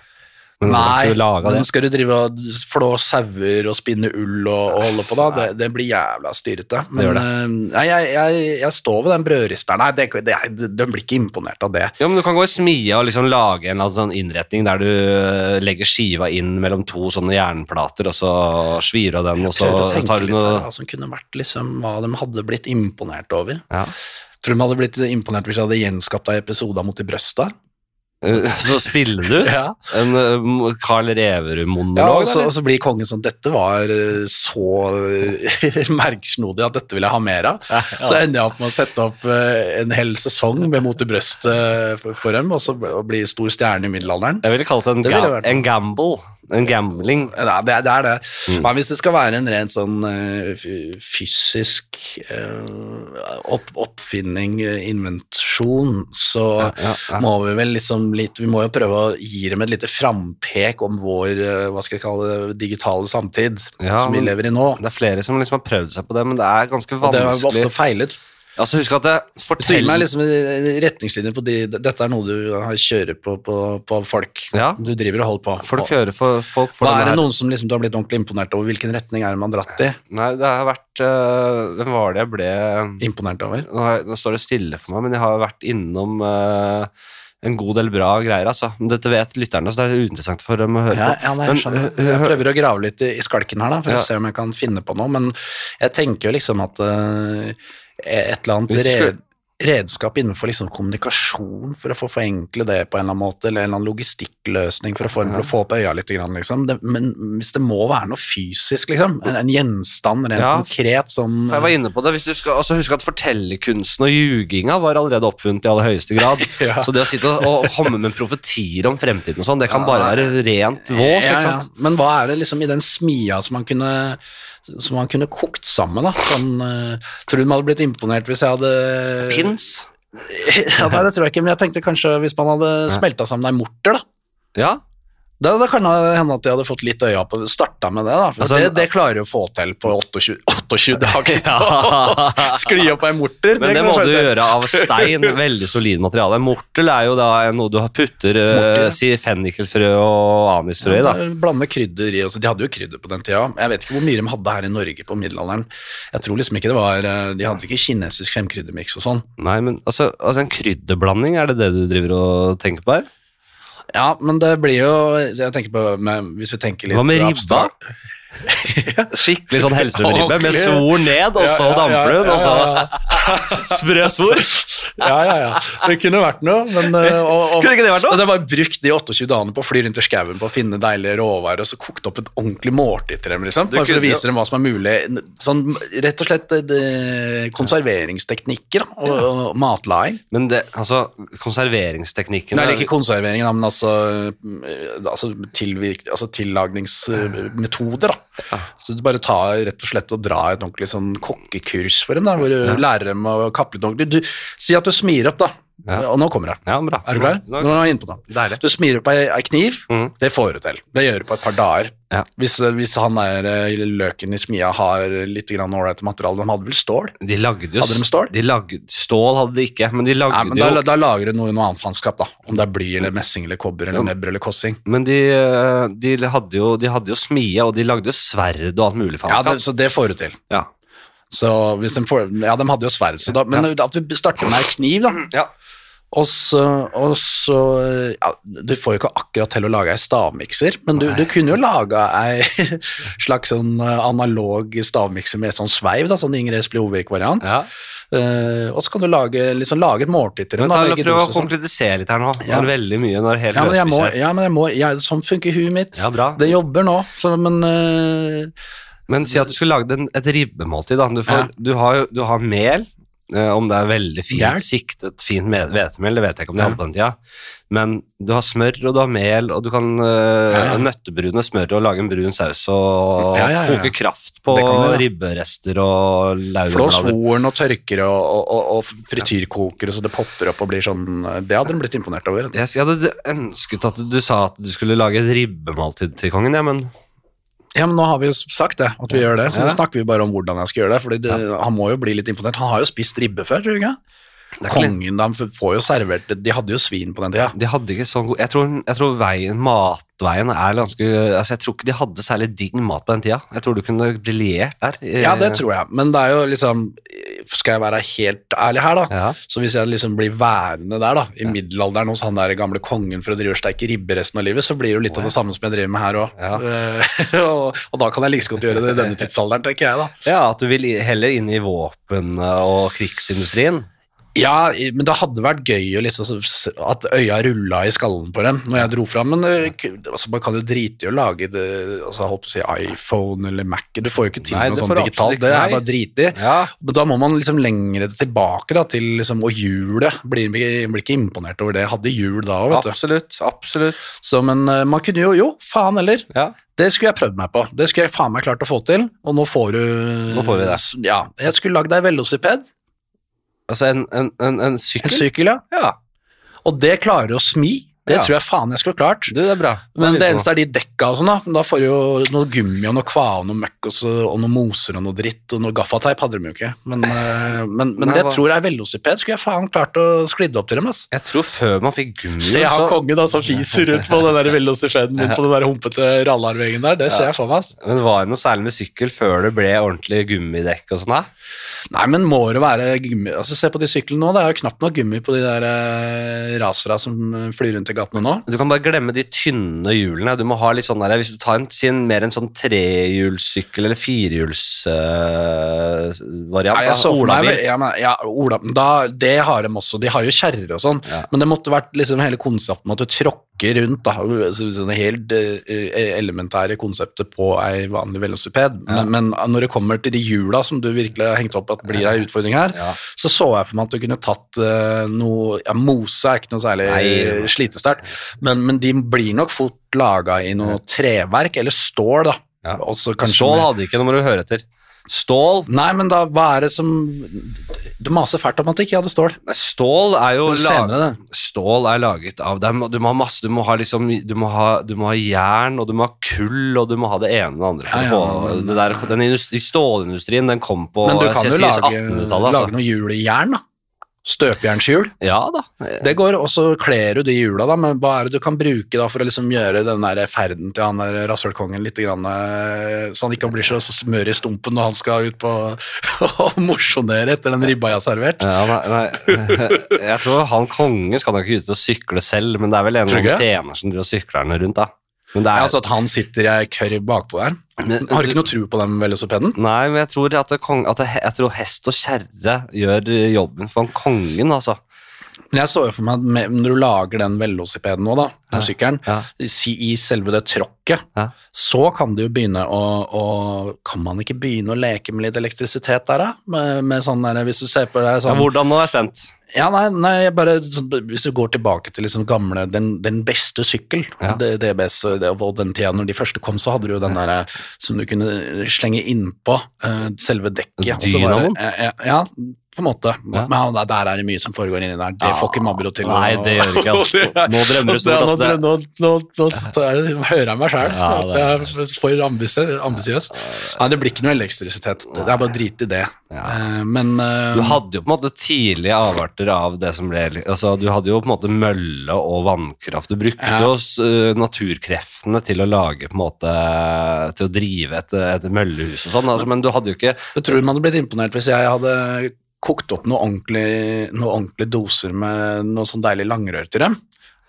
Men hvordan
Nei,
skulle du lage det?
men skal du drive og flå sauer og spinne ull og, og holde på da? Det, det blir jævla styrete. Men
gjør det.
eh, nei, jeg, jeg, jeg står ved den brødristeren. Nei, det, det, de blir ikke imponert av det.
Ja, men Du kan gå i smia og liksom lage en eller annen sånn innretning der du eh, legger skiva inn mellom to sånne jernplater, og så svir av den, og så
Prøver å tenke
tar du
litt
noe
her, hva som kunne vært liksom, hva de hadde blitt imponert over.
ja.
Tror du de hadde blitt imponert hvis jeg hadde gjenskapt ei episode av Mot i brøsta?
Eh, *laughs* Så spiller du ut
Ja.
en eh, Carl
Ja,
Reverud-monolog.
og så,
eller?
og så blir kongen sånn Dette var eh, så eh, *laughs* merksnodig at dette vil jeg ha mer av.
*laughs*
Så ender jeg opp med å sette opp eh, en hel sesong med Mot i brøstet for, for dem, og så bli- og bli stor stjerne i middelalderen.
Jeg ville kalt det en,
Det ville
ga
vært
en gamble. En gambling.
Ja, det, er- det er det.
Mm.
Men hvis det skal være en rent sånn eh, fy- fysisk eh, opp, oppfinning, eh, invensjon, så
ja, ja.
må vi vel liksom litt Vi må jo prøve å gi dem et lite frampek om vår eh, hva skal jeg kalle det, digitale samtid
Ja,
som vi
men-
lever i nå.
Det er flere som liksom har prøvd seg på det, men det er ganske
Og det har
vanskelig.
ofte feilet.
Altså, husk at det
Så gi
fortell
meg liksom retningslinjer på de, Dette er noe du har- kjører på, på, på folk.
Ja.
Du driver og holder på.
Folk hører for folk for
Hva
denne
er det
her.
noen som liksom, du har blitt ordentlig imponert over? Hvilken retning er det man har dratt i?
Nei, det har vært øh, Hvem var det jeg ble
Imponert over?
nå, har jeg- nå står det stille for meg, men jeg har vært innom øh, en god del bra greier, altså. Men dette vet lytterne, så det er uinteressant for dem å høre
Ja,
på.
ja, nei,
Men,
jeg, skjønner.
øh,
jeg
øh,
prøver å grave litt i i skalken her, da, for
Ja.
å se om jeg kan finne på noe. Men jeg tenker jo liksom at eh, et eller annet
Hvis du skulle-
red, redskap innenfor liksom kommunikasjon, for å få forenkle det på en eller annen måte, eller en eller annen logistikkløsning for å få,
Ja.
å få opp øya litt. Grann, liksom. det, men hvis det må være noe fysisk, liksom, en, en gjenstand rent
Ja.
konkret som
For eh, Jeg var inne på det. Hvis du skal, altså husk at fortellerkunsten og ljuginga var allerede oppfunnet i aller høyeste grad.
*laughs* Ja.
Så det å sitte og, og komme med profetier om fremtiden og sånn, det kan bare være rent vås,
Ja,
ikke
ja.
sant?
Men hva er det liksom i den smia som man kunne som man kunne kokt sammen, da. Sånn, eh, tror du man hadde blitt imponert hvis jeg hadde
Pins.
*laughs* ja, nei, det tror jeg ikke, men jeg tenkte kanskje hvis man hadde smelta sammen ei morter, da.
Ja.
Da, da kan det hende at de hadde fått litt øya på det. Starta med det, da. For
Altså,
det, det klarer du å få til på 28, 28 dager.
*laughs* Ja.
*laughs* Skli opp ei morter.
Men det
kan
må
få
du
til.
gjøre av
*laughs*
stein. Veldig solid materiale. En Mortel er jo da noe du
Mortel,
putter
ja.
eh, si fennikelfrø og anisfrø i, da.
Eh, Blande krydder i. Altså, de hadde jo krydder på den tida. Jeg vet ikke hvor mye de hadde her i Norge på middelalderen. Jeg tror liksom ikke det var eh, De hadde ikke kinesisk femkryddermiks og sånn.
Nei, men altså, altså en krydderblanding, er det det du driver og tenker på her?
Ja, men det blir jo jeg tenker på, men Hvis vi tenker litt
Hva med ribba?
abstrakt-
*laughs* Skikkelig sånn helseribbe med
Ordentlig.
sol ned, og så
Ja, ja, ja,
damper du den, og
ja, ja, ja.
så sprø svor.
Ja, ja, ja. Det kunne vært noe, men eh,
*laughs*
og, og,
Kunne ikke det vært noe?
Altså, jeg bare brukt de 28 dagene på å fly rundt i skauen på å finne deilige råvarer, og så kokt opp et ordentlig måltid til dem, liksom. Bare for
kunne
å vise dem hva som er mulig. Sånn, rett og slett eh, det- konserveringsteknikker da, og, og matlaging.
Men det, altså, konserveringsteknikken
Nei,
er-
eller ikke konserveringen, da, men altså, eh, altså, tilvirk, altså tillagningsmetoder, da. Så du bare tar rett og slett og drar et ordentlig sånn kokkekurs for dem, da, hvor du lærer dem å kappe litt ordentlig. Du, si at du smir opp, da.
Ja.
Og nå kommer det.
Ja, bra.
Er du klar?
Nå-
Nå er jeg inne på det.
Deilig.
Du smir opp ei, ei kniv,
Mm.
det får du til. Det gjør du på et par dager.
Ja.
Hvis, hvis han der eh, løken i smia har litt grann ålreit materiale, de hadde vel stål?
De lagde jo
Hadde de stål?
De lagde, stål hadde de ikke, men de lagde
Nei, men
jo
da, da lager du noe i noe annet faenskap, da. Om det er bly eller messing eller kobber eller nebber eller kossing.
Men de, eh, de, hadde jo, de hadde jo smie, og de lagde jo sverd og alt mulig
Ja,
faenskap.
det, så det får du til.
Ja,
Så hvis de får, ja, de hadde jo sverd, så da, men at vi starter med ei kniv, da.
Ja.
Og så, og så ja, Du får jo ikke akkurat til å lage ei stavmikser, men du, du kunne jo laga ei *laughs* slags sånn analog stavmikser med sånn sveiv, da, sånn Ingrid Splovik-variant.
Ja.
Eh, og så kan du lage, liksom, lage et måltid til
Men
dem.
ta,
da, begge
prøv å
doser, sånn.
konkretisere litt her nå. Det
Ja.
er veldig mye når hele
Ja, men jeg må,
løsspiser.
ja, men jeg må jeg, Sånn funker huet mitt.
Ja, bra.
Det jobber nå, så, men eh,
Men si at du skulle lagd en- et ribbemåltid. Da. Du, får,
Ja.
du, har, jo- du har mel, eh, om det er veldig fint
Mel?
siktet, fint med- hvetemel, det vet jeg ikke om de
Ja.
hadde på den tida. Men du har smør, og du har mel, og du kan eh,
Ja, ja.
nøttebrune smør og lage en brun saus og
Ja, ja, ja.
koke kraft på
Det kan du, ja.
ribberester og
flå
laurblader.
svoren og tørker og, og, og, og frityrkoker, så det popper opp og blir sånn Det hadde hun blitt imponert over.
Jeg jeg hadde ønsket at du sa at du skulle lage et ribbemåltid til kongen, ja, men
Ja, men nå har vi jo sagt det, at vi gjør det, så
Ja.
nå snakker vi bare om hvordan jeg skal gjøre det. Fordi det, han må jo bli litt imponert. Han har jo spist ribbe før, tror du ikke?
det er ikke lett.
Kongen, de får jo servert De hadde jo svin på den tida.
De hadde ikke sånn god Jeg tror, jeg tror veien, matveien er ganske altså Jeg tror ikke de hadde særlig digg mat på den tida. Jeg tror du kunne briljert der.
Ja, det tror jeg, men det er jo liksom Skal jeg være helt ærlig her, da?
Ja.
Så hvis jeg liksom blir værende der, da, i middelalderen hos han der gamle kongen for å drive og steike ribbe resten av livet, så blir det jo litt av det samme som jeg driver med her òg.
Ja.
*laughs* og, og da kan jeg like så godt gjøre det i denne tidsalderen, tenker jeg, da.
ja, at du vil i- heller inn i våpen- og krigsindustrien.
Ja, i- men det hadde vært gøy å liksom, s- at øya rulla i skallen på dem når jeg dro fram, men eh, k- altså, man kan jo drite i å lage det, altså, holdt på å si iPhone eller Mac, du får jo ikke til
Nei,
noe
det
sånt
får du absolutt
digitalt,
ikke,
det
nei.
er bare driti.
Ja.
Men da må man liksom lengre tilbake da, til liksom, og hjulet, blir, blir ikke imponert over det, Jeg hadde hjul da òg, vet du.
Absolutt. Absolutt.
Så, men eh, man kunne jo, jo, faen heller,
Ja.
det skulle jeg prøvd meg på. Det skulle jeg faen meg klart å få til, og nå får du
Nå får vi det.
Ja. Jeg skulle lagd deg velociped,
Altså en, en, en, en sykkel.
en sykkel, ja.
ja.
Og det klarer du å smi. Det
Ja.
tror jeg faen jeg skulle klart.
Du, det er bra. Da
Men
lurer
det
jeg på
eneste er de dekka og sånn, da. Men da får du jo noe gummi og noe kvae og noe møkk og, så, og noe moser og noe dritt, og noe gaffateip hadde de jo ikke. Men, eh, men, men
Nei,
det
hva-
tror jeg er velociped. Skulle jeg faen klart å sklidde opp til dem, ass.
Jeg tror før man fikk gummi
Se
så-
han kongen da som fiser rundt på den der velocipeden min på den der humpete rallarveggen der. Det ser jeg for meg, ass.
Men var det noe særlig med sykkel før det ble ordentlig gummidekk og sånn? da?
Nei, men må det være gummi Altså, se på de syklene nå. Det er jo knapt noe gummi på de der eh, rasera som eh, flyr rundt i gatene nå.
Du kan bare glemme de tynne hjulene. Du må ha litt sånn der, Hvis du tar en, si en, mer en sånn trehjulssykkel eller firehjulsvariant uh,
Ja, jeg så for meg altså, ja, men, ja, Ola, men da, Det har de også, de har jo kjerrer og sånn.
Ja.
Men det måtte vært liksom hele konseptet med at du tråkker rundt. da, så- sånne helt eh, elementære konseptet på ei vanlig velociped. Men, men når det kommer til de hjula som du virkelig har hengt opp at blir ei utfordring her,
Ja.
så så jeg for meg at du kunne tatt eh, noe ja, Mose er ikke noe særlig
Nei.
eh, slitesterkt, men, men de blir nok fort laga i noe treverk eller stål, da.
Ja.
Og så kanskje
Stål
med-
hadde ikke, nå må du høre etter. Stål
Nei, men da, hva er det som Du maser fælt om at du ikke hadde stål.
Nei, Stål er jo
Det er
lag-
senere, det.
Stål er laget av det er- Du må ha masse, du må ha liksom Du må ha, du må ha jern, og du må ha kull, og du må ha det ene og det andre. For
Ja,
å
ja,
få,
men-
det der, den industri, stålindustrien, den kom på
Men du kan jo
jeg sier
lage,
1800-tallet.
lage
Altså.
noe hjul i jern, da. Støpjernshjul.
Ja da.
Det går, og så kler du de hjula, da, men hva er det du kan bruke da for å liksom gjøre den der ferden til han der rasshølkongen litt, grann, eh, så han ikke blir så smør i stumpen når han skal ut på *laughs* og mosjonere etter den ribba jeg har servert?
Ja, nei, nei. *laughs* Jeg tror han kongen skal nok ikke ut og sykle selv, men det er vel en
Tror
eller
du
annen tjener som driver og sykler henne rundt, da. Men det er,
Altså at han sitter i ei kørr bakpå der.
men,
Har du ikke noe tro på den velocipeden?
Nei, men jeg tror, at, det kong, at det, jeg tror hest og kjerre gjør eh, jobben for han kongen, altså.
Men jeg så jo for meg at med- når du lager den velocipeden nå, da, den sykkelen,
Ja.
si- i selve det tråkket,
Ja.
så kan du jo begynne å, å Kan man ikke begynne å leke med litt elektrisitet der, da? Med, med sånn der, hvis du ser på det
Ja,
sånn
hvordan nå er jeg spent?
ja, nei, nei, jeg bare, hvis du går tilbake til liksom gamle, den, den beste sykkel,
Ja.
D- DBS, og det- og den tida når de første kom, så hadde du jo den der eh, som du kunne slenge innpå eh, selve dekket. og så var det-
Dynamoen?
eh, eh, ja, på en måte.
Ja.
Men der, der er det mye som foregår inni der. Det
Ja.
får ikke Mabro til. å-
Nei, det gjør ikke,
*laughs*
altså. Nå drømmer du stort,
nå,
altså. Det,
nå, nå, nå st- hører jeg meg sjøl.
Ja, det er-
jeg er for ambisiøs. ambisiøs. Nei, det blir ikke noe elektrisitet. Det det er bare drit i det.
Ja.
Eh, Men eh,
Du hadde jo på en måte tidlige avarter av det som ble altså Du hadde jo på en måte mølle og vannkraft. Du brukte
Ja.
jo s- eh, naturkreftene til å lage på en måte Til å drive et, et møllehus og sånn, altså, men du hadde jo ikke
Jeg tror man hadde blitt imponert hvis jeg hadde kokt opp noen ordentlige, noen ordentlige doser med noe sånn deilig langrør til dem.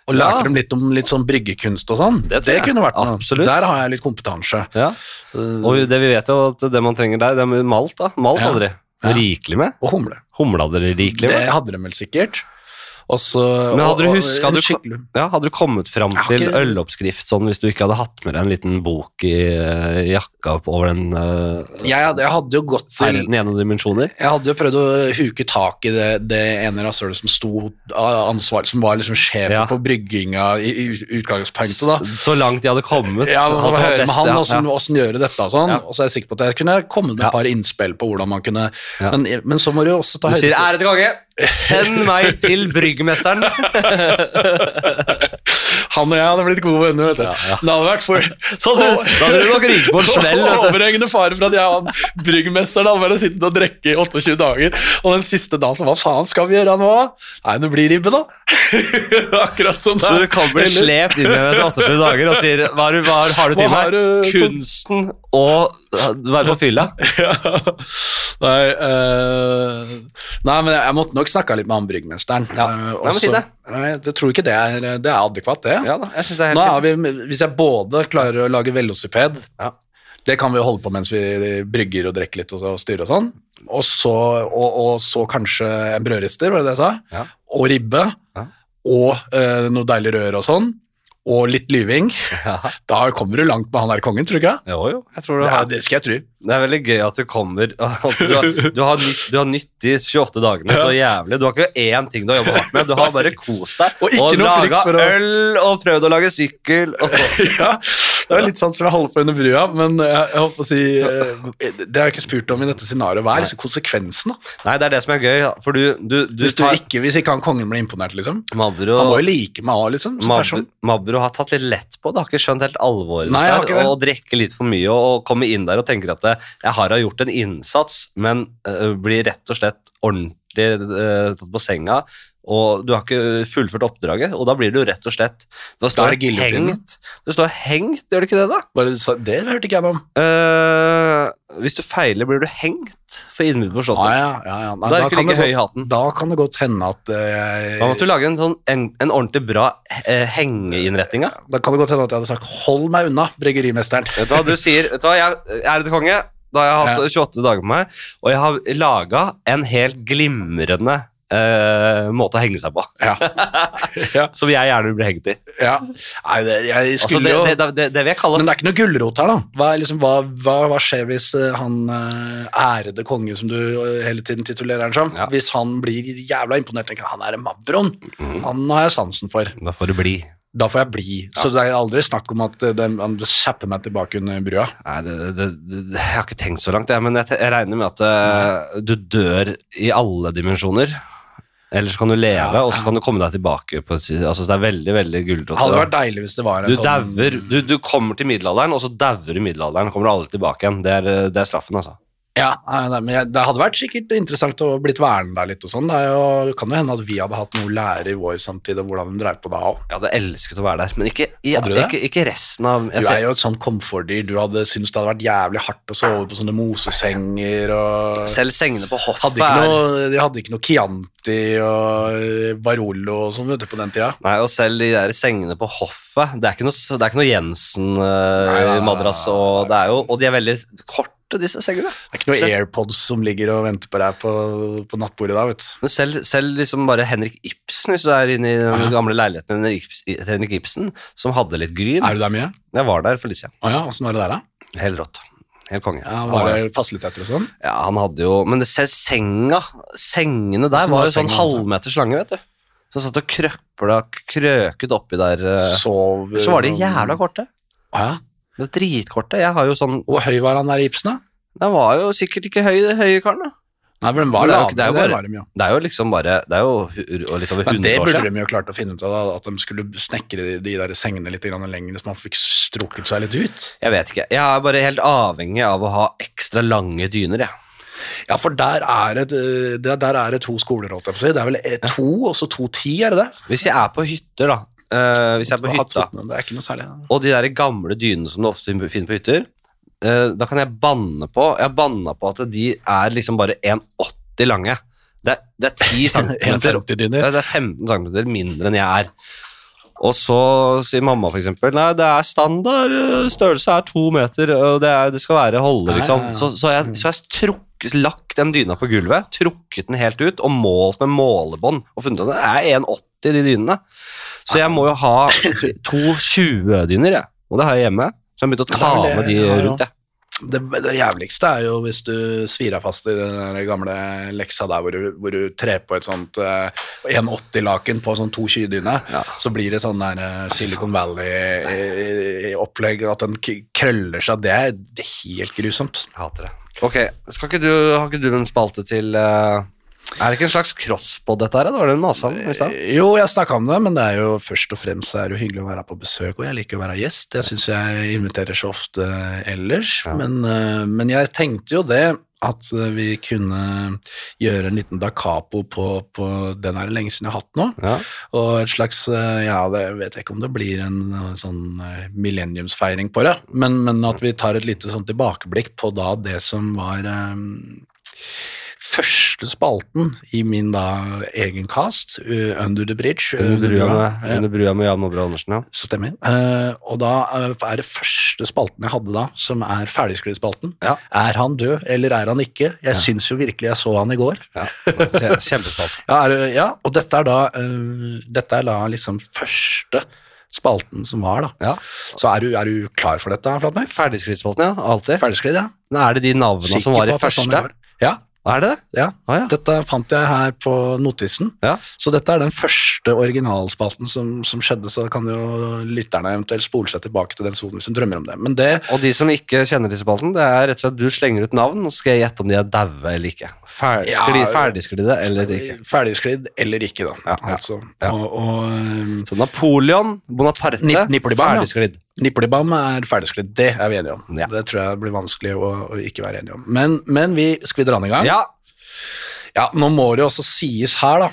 Og lærte
Ja.
dem litt om litt sånn bryggekunst og sånn.
Det tror jeg.
kunne vært noe.
Absolutt.
Der har jeg litt kompetanse.
Ja.
Eh,
Og det vi vet jo at det man trenger der, det er malt. da. Malt
Ja.
hadde de.
Ja.
Rikelig med.
Og humle.
Humla dere rikelig
Det
med?
hadde de vel sikkert. Og så-
Men
og-
hadde du
og
huska
en
du-
skikkelig-
Ja, Hadde du kommet fram
Jeg har
til
ikke-
øloppskrift sånn hvis du ikke hadde hatt med deg en liten bok i eh, jakka opp over den uh,
jeg, hadde- jeg hadde jo gått til
i gjennom dimensjoner?
Jeg hadde jo prøvd å huke tak i det, det ene rasshølet som sto av ansvar, som var liksom sjefen
Ja.
for brygginga i, i ut- utgangspunktet, da.
Så langt de hadde kommet.
Ja, man
altså,
høre med
beste,
han
ja,
hvordan,
ja.
hvordan gjøre dette og sånn,
Ja.
og så er jeg sikker på at jeg kunne kommet med
Ja.
et par innspill på hvordan man kunne
Ja.
men, men så må du jo også ta
Du
høyde
sier
for
'ære til konge', send meg til bryggmesteren.
*laughs* Han og jeg hadde blitt gode venner, vet du. Det hadde vært for
*laughs* Så du, da hadde du nok ryket på en smell. vet du.
Overhengende fare for at jeg og han bryggmesteren hadde bare sittet og drukket i 28 dager, og den siste dagen så hva faen skal vi gjøre nå? Nei, det blir ribbe, da. *laughs* Akkurat som
Så
det.
du kan bli
Eller-
slept inn i det 28 dager og sier hva, har du- hva har du til
Hva har
meg?
du-
Kunsten å være på fylla.
*laughs* Ja. Nei, eh, nei, men jeg måtte nok snakka litt med han bryggmesteren.
Ja.
Eh,
Nei, men
også-
si det.
Nei, jeg tror ikke det er, det er adekvat, det.
Ja da, jeg synes det er
Nå er
helt
vi, hvis jeg både klarer å lage velociped
Ja.
Det kan vi jo holde på mens vi brygger og drikker litt og, så- og styrer og sånn. Og så, og, og så kanskje en brødrister, var det det jeg sa?
Ja.
Og ribbe.
Ja.
Og eh, noe deilig rør og sånn. Og litt lyving.
Ja.
Da kommer du langt med han der kongen, tror du ikke?
Jo, jo. Jeg tror du
Ja,
har
det skal jeg tro.
Det er veldig gøy at du kommer *laughs* at Du har, du har, nytt, du har nytt de 28 dagene så jævlig. Du har ikke én ting du har jobbet hardt med. Du har bare kost deg
*laughs* Og ikke noe frykt
laget
for å-
øl og prøvd å lage sykkel. Og,
*laughs* ja, det er litt sånn som jeg holder på under brua, men jeg, jeg holdt på å si eh, Det har jeg ikke spurt om i dette scenarioet. Hva er liksom konsekvensen, da?
nei, det er det som er gøy, for du, du, du
Hvis, du
tar
ikke, hvis ikke han kongen blir imponert, liksom.
Mabro,
Han må jo like meg òg, liksom. Som
Mabro,
person.
Mabro har tatt litt lett på det. Har ikke skjønt helt alvoret
Nei, jeg har
der,
ikke det.
og drikke litt for mye og, og komme inn der og tenke at det, jeg har da gjort en innsats, men øh, blir rett og slett ordentlig øh, tatt på senga. Og du har ikke fullført oppdraget, og da blir du rett og slett Da
er
står
det giljotinen.
hengt. Du står hengt, gjør du ikke det, da?
Bare, sa- det hørte ikke jeg noe om.
Eh, hvis du feiler, blir du hengt for innbrudd på
Ah,
slottet.
ja, ja, ja. Nei,
Sånn. Da er
da,
ikke
kan
like
det
høy i hatten.
godt, da kan det godt hende at eh,
Da måtte du lage en, sånn, en, en ordentlig bra eh, hengeinnretning. da.
Da kan det godt hende at jeg hadde sagt 'hold meg unna, bryggerimesteren'.
Vet du hva, du sier Vet du hva, jeg jeg er et konge Da har jeg hatt 28 dager på meg Og jeg har laget en helt glimrende eh, Måte å henge seg på
Ja. ja,
*laughs* Som jeg gjerne blir hengt i
ja. Nei, det, jeg
altså,
skulle
det,
jo
det, det, det, det vil jeg kalle
Men det er ikke noe gulrot her, da. Hva, er liksom, hva, hva, hva skjer hvis eh, han eh, ærede konge, som du eh, hele tiden titulerer han som,
Ja.
hvis han blir jævla imponert tenker han er en mabron, han har jeg sansen for,
Da får du bli
Mm. da får jeg bli. Så det er aldri snakk om at eh, dem- han kjapper meg tilbake under brua.
Nei, det, det, det, det- jeg har ikke tenkt så langt jeg, Men jeg, te- jeg regner med at eh, du dør i alle dimensjoner Ellers kan du leve
Ja.
Og så kan du komme deg tilbake på, et si- altså, Det er veldig, veldig guldrott
Det hadde vært deilig hvis det var en
du,
sånn
dauer, du, du kommer til middelalderen, og så dauer du i middelalderen. Kommer du aldri tilbake igjen. Det er, eh, det er straffen, altså.
Ja, nei, nei, men jeg, Det hadde vært sikkert interessant å blitt værende der litt og sånn. Det er jo- det kan jo hende at vi hadde hatt noe å lære i vår samtid om hvordan de dreiv på da òg.
Jeg hadde elsket å være der, men ikke, i-
Hadde du det?
ikke, ikke resten av jeg
Du
ser-
er jo et sånt komfortdyr. Du hadde syntes det hadde vært jævlig hardt å sove på sånne mosesenger og
Selv sengene på hoffet
hadde ikke noe, De hadde ikke noe Chianti og Barolo og sånn vet du, på den tida.
Nei, og selv de der sengene på hoffet Det er ikke noe, s- det er ikke noe
Nei, nei, nei,
Jensen-madrass,
nei,
og, det er jo- og de er veldig korte, disse sengene.
Det er ikke noe
Så-
AirPods som ligger og venter på deg på, på nattbordet da, vet du.
Men selv, selv liksom bare Henrik Ibsen, hvis du er inne i den
Ja.
gamle leiligheten Henrik Ibsen, Henrik Ibsen, som hadde litt gryn
Er du der mye?
Jeg var der for litt siden.
Å ja, åssen var det der, da?
Helt rått. Helt konge.
Ja,
Han
var
var-
det fasiliteter og sånn?
Ja, han hadde jo Men det- selv senga Sengene der
Hvordan
var
var
jo sånn
senga, altså?
halvmeters lange, vet du. Så han satt og krøpla, krøket oppi der. eh.
Sov
Så var de jævla korte.
Å Ja.
Det var dritkorte. Jeg har jo sånn
Hvor høy var han der i Ibsen, da?
Den var jo sikkert ikke høy, høye karen, da.
Nei, men den
Men
var
det er jo
lav.
ikke- det er jo
det
bare-
var de jo.
Det er jo liksom bare Det er jo hu- og litt over
Men
100
det
år
burde
siden.
de jo klart å finne ut av, da, at de skulle snekre de, de der sengene litt grann lenger, så man fikk strukket seg litt ut.
Jeg vet ikke. Jeg er bare helt avhengig av å ha ekstra lange dyner, jeg.
Ja, for der er det, der, der er det to skoler, holdt jeg på å si. Det er vel eh, to, og så to ti, er det det?
Hvis jeg er på hytter, da. eh, hvis jeg er på hytta,
Det er ikke noe særlig. *laughs*
og de der gamle dynene som du ofte finner på hytter, eh, da kan jeg banne på Jeg har banna på at de er liksom bare 1,80 lange. Det er, det er 10 centimeter opp.
1,50
Det
dyner.
er, det er 15 centimeter mindre enn jeg er. Og så sier mamma for eksempel Nei, det er standard øh, størrelse er to meter, og det, er, det skal være holde,
Nei,
liksom.
nei, nei.
Så, så jeg så jeg har trukket, lagt den dyna på gulvet, trukket den helt ut og målt med målebånd og funnet at det er 1,80 de dynene. Så jeg må jo ha to 20-dyner, jeg. Og det har jeg hjemme. Så jeg har begynt å
er
ta
vel det
med de
jeg har også.
rundt, jeg.
Det, det jævligste er jo hvis du svir deg fast i den der gamle leksa der hvor du, hvor du trer på et sånt eh, 1,80-laken på sånn to kydyne,
Ja.
så blir det sånn der eh, Silicon eh, Valley-opplegg, at den k- krøller seg. Det er, det er helt grusomt.
Jeg hater det. Ok, skal ikke du, Har ikke du en spalte til eh, Er det ikke en slags crosspod, dette her? Det var det du masa om i stad.
Eh, Jo, jeg snakka om det, men det er jo først og fremst er det jo hyggelig å være på besøk, og jeg liker å være gjest. Jeg syns jeg inviterer så ofte ellers,
Ja.
men, eh, men jeg tenkte jo det. At eh, vi kunne gjøre en liten da capo på, på den er det lenge siden jeg har hatt nå.
Ja.
Og et slags eh, Ja, det vet jeg ikke om det blir en eh, sånn eh, millenniumsfeiring på det, men, men at vi tar et lite sånn tilbakeblikk på da det som var eh, første spalten i min da egen cast, eh, Under the Bridge. eh,
Under brua med,
ja,
under brua med Jan Obra Andersen, ja.
Stemmer. Eh, og da eh, er det første spalten jeg hadde da, som er ferdigskrevet-spalten.
Ja.
Er han død, eller er han ikke? Jeg syns jo virkelig jeg så han i går.
ja. Kje- Kjempespalt.
Ja, er, det- ja og dette er da eh, Dette er da liksom første spalten som var, da.
Ja.
Så er du, er du klar for dette, Flatmøy?
Ferdigskrittspalten, ja. Alltid.
Ferdigskridd, ja.
Nå Er det de navnene som
Sikker
var
på
i
at det er sånn
første?
det var. Ja,
Er det det?
ja.
Å ja.
Dette fant jeg her på notisen.
ja.
Så dette er den første originalspalten som, som skjedde, så kan jo lytterne eventuelt spole seg tilbake til den sonen hvis de drømmer om det. Men det
Og de som ikke kjenner disse spalten, det er rett og slett du slenger ut navn, og så skal jeg gjette om de er daue eller ikke. Fer-
Ja.
skli- Ferdigsklidde eller ikke.
Ferdigsklidd eller ikke, da.
Ja, ja,
altså.
ja.
Og, og um,
Så Napoleon, Bonaparte,
Nip- Nippelibam, ja.
ferdigsklidd.
Nippelibam er ferdigsklidd, det er vi enige om.
Ja.
Det tror jeg blir vanskelig å, å ikke være enige om. Men, men vi skal vi dra den i gang?
Ja.
Ja, nå må det jo også sies her, da,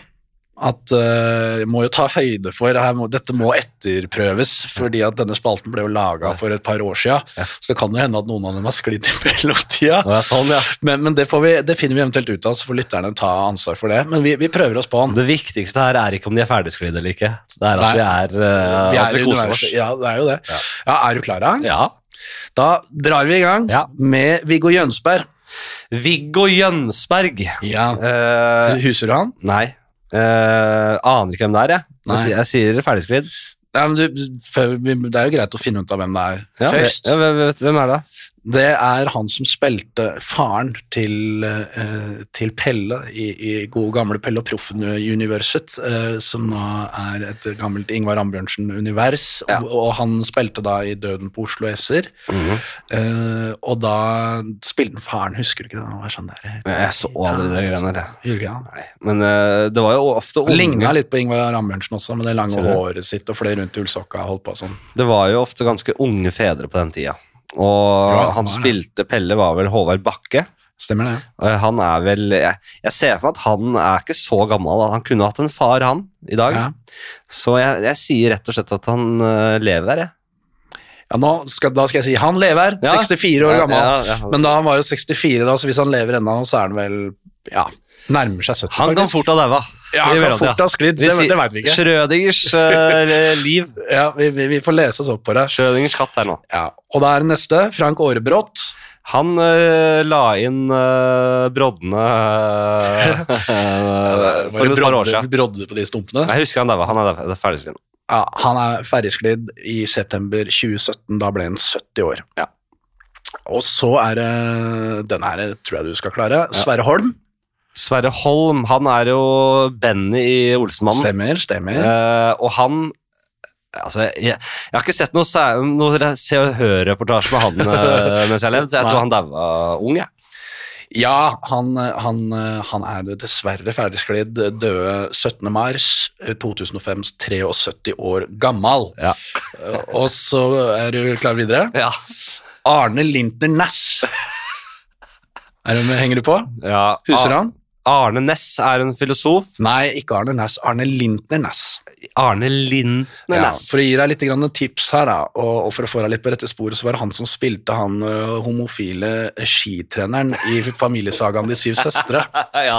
at uh, må jo ta høyde for her må, Dette må etterprøves, fordi at denne spalten ble jo laga for et par år sia. Så det kan jo hende at noen av dem har sklidd i mellomtida.
Å ja, sånn, ja.
Men, men det, får vi, det finner vi eventuelt ut av, så får lytterne ta ansvar for det. Men vi, vi prøver oss på den.
Det viktigste her er ikke om de er ferdigsklidd eller ikke. Det er at
Nei.
vi er, eh,
Vi
at
er
vi
i
koser oss.
universet. Ja, det er jo det. Ja, Er du klar, da?
Ja.
Da drar vi i gang
Ja.
med Viggo Jønsberg.
Viggo Jønsberg.
Ja.
Eh,
Huser du han?
nei. Eh, aner ikke hvem det er, jeg.
Nei.
Jeg, sier- jeg sier ferdigsklidd.
Nei, men du, før, vi- det er jo greit å finne ut av hvem det er
Ja,
først.
ja, hvem, hvem- hvem er det?
Det er han som spilte faren til, eh, til Pelle i, i gode gamle Pelle og Proffen-universet, eh, som nå er et gammelt Ingvar Ambjørnsen-univers.
Ja.
Og, og han spilte da i Døden på Oslo Esser. Eh, og da spilte han faren, husker du ikke det? Han var sånn der
Men Jeg så aldri det greiene der. jeg.
Gjorde ikke han?
Nei. Men eh, det var jo ofte unge
Ligna litt på Ingvar Ambjørnsen også, med det lange
Ser du?
håret sitt og fløy rundt i ullsokka og holdt på sånn.
Det var jo ofte ganske unge fedre på den tida. Og
Ja,
han
det var
spilte Pelle var vel Håvard Bakke.
Stemmer det?
Eh, Han er vel Jeg, jeg ser for meg at han er ikke så gammel. da. Han kunne hatt en far, han, i dag.
Ja.
Så jeg, jeg sier rett og slett at han eh, lever der, jeg.
Ja, nå skal, da skal jeg si han lever,
Ja.
64 år gammel.
Ja, ja, ja.
Men da han var jo 64 da, så hvis han lever ennå, så er han vel ja, nærmer seg 70
han kan
faktisk.
fort ha daua.
ja, han
I
kan
mellomtida.
fort ha sklidd, det, det vet vi ikke.
Schrødingers
*laughs*
eh, liv.
Ja, vi, vi, vi får lese oss opp på det.
Schrødingers katt her nå.
Ja. Og da er det neste, Frank Aarebrot.
Han eh, la inn eh, broddene
*laughs*
eh,
Var
for
det
et par år
brodde-
siden.
Brodde på de stumpene.
Jeg husker han daua. Han er daua. Det er ferdig skrevet.
Ja, han er ferdigsklidd i september 2017, da ble han 70 år.
Ja.
Og så er det, den her tror jeg du skal klare, Sverre Holm.
Sverre Holm, han er jo Benny i Olsenmannen.
Stemmer, stemmer.
Eh, og han Altså, jeg, jeg har ikke sett noe, sær- noe Se og Hør-reportasje med han
*laughs*
eh, mens jeg har levd, så jeg
Nei.
tror han daua ung, jeg.
Ja, han, han, han er dessverre ferdigsklidd, døde 17. mars eh, 2005, 73 år gammel. Eh,
Ja.
Og så er du klar videre.
Ja.
Arne Lintner Næss. Er du med, henger du på?
Ja. Ah.
Husker du han?
Arne Næss er en filosof.
Nei, ikke Arne Næss. Arne Lintner Næss.
Arne Lindner
Ja,
Næss.
for å gi deg litt grann et tips her, da, og, og for å få deg litt på rette sporet, så var det han som spilte han ø, homofile skitreneren i familiesagaen De syv søstre.
*laughs* ja.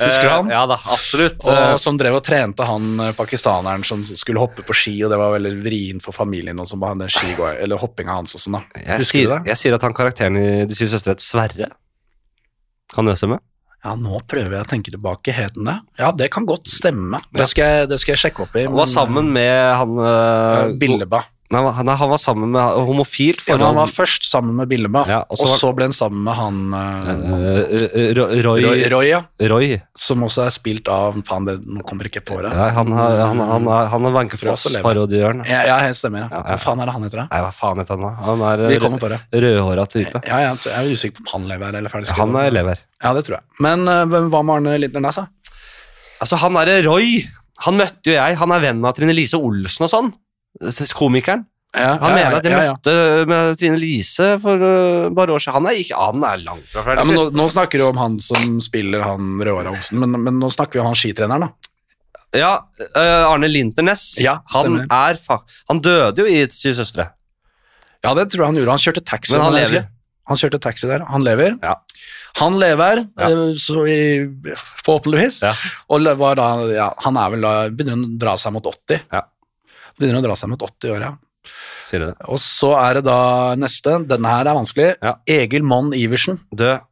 Husker du han?
Eh, Ja da, absolutt. Eh,
Og som drev og trente han ø, pakistaneren som skulle hoppe på ski, og det var veldig vrient for familien og som var den skigå- eller hoppinga hans og sånn. da.
jeg,
Husker
sier,
du det?
jeg sier at han karakteren i De syv søstre het Sverre. Kan det stemme?
Ja, nå prøver jeg å tenke tilbake. Het den det? Ja, det kan godt stemme. Det skal jeg, det skal jeg sjekke opp i.
Han var sammen med han eh,
med Billeba.
Nei, han, han var sammen med homofilt
Ja, men han var
forhold.
først sammen med Billeba,
Ja, og
og,
så
så
var-
ble han sammen med han ø,
Eh, eh, Roy,
Roy,
Roy,
Roy ja.
Roy.
som også er spilt av Faen, det, nå kommer jeg ikke på det.
Ja, han, har- han, han, har- han er Wenche
Fra oss å leve.
Foss-parodiøren.
Ja, ja, helt stemmer. Ja.
Ja, ja.
Hva faen er det han heter, da?
Nei, hva faen heter han da? Han er
Vi
rød,
kommer på det.
rødhåra type.
Ja, ja, jeg er usikker på om han lever her eller er ferdig
Han er elever.
Ja, det tror jeg. Men eh, hvem- hva med Arne Lindner Næss, da?
Altså, han er Roy. Han møtte jo jeg. Han er venn av Trine Lise Olsen og sånn. Komikeren.
Ja,
Han
ja,
mener
ja,
at jeg
ja, ja.
møtte eh, med Trine Lise for uh, bare år siden. Han er, ikke, han er langt fra
Ja,
ferdig.
men nå, nå snakker du om han som spiller han Rødhåra Olsen, men, men nå snakker vi om han skitreneren, da.
Ja, uh, Arne Linternes.
Ja,
han,
stemmer.
er fa han døde jo i Syv søstre.
Ja, det tror jeg han gjorde. Han kjørte taxi.
Men han
jeg husker.
lever.
Han kjørte taxi der. Han lever.
Ja.
Han lever,
Ja.
eh, så i, forhåpentligvis.
Ja.
Og le- var da, ja, han er vel da Begynner å dra seg mot 80.
Ja.
Begynner å dra seg mot 80 år, ja.
Sier du det?
Og så er det da neste. Denne her er vanskelig.
Ja.
Egil Monn Iversen.
Død.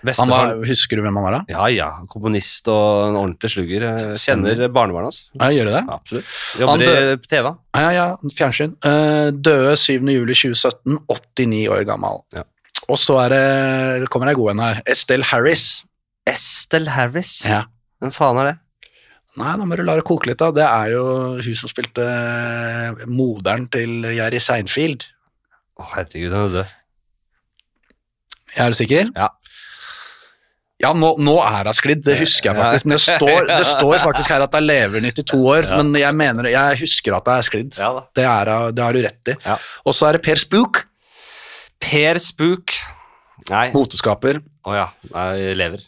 Han var,
Bestefaren.
husker du hvem han var, da?
Ja, ja. Komponist og en ordentlig slugger. Eh, Kjenner barnebarnet hans.
Ja, gjør du det?
Ja, absolutt.
Han
Jobber i TV. han.
Ja, ja, ja fjernsyn. Eh, døde 7. juli 2017, 89 år gammel.
Ja.
Og så er det, kommer det en god en her. Estelle Harris.
Estelle Harris.
Ja.
Hvem faen er det?
Nei, nå må du la det koke litt, da. Det er jo hun som spilte eh, moderen til Jerry Seinfeld.
Å, herregud, han er død.
Er du sikker?
Ja.
Ja, nå, nå er hun sklidd, det husker jeg
Ja.
faktisk. Men
*laughs*
det står, det står faktisk her at hun lever 92 år, men jeg, mener, jeg husker at hun er sklidd.
Ja da.
Det, er, hun- det har du rett i.
Ja.
Og så er det Per Spook,
Per Spook. Nei. Å
moteskaper.
ja. Nei, lever.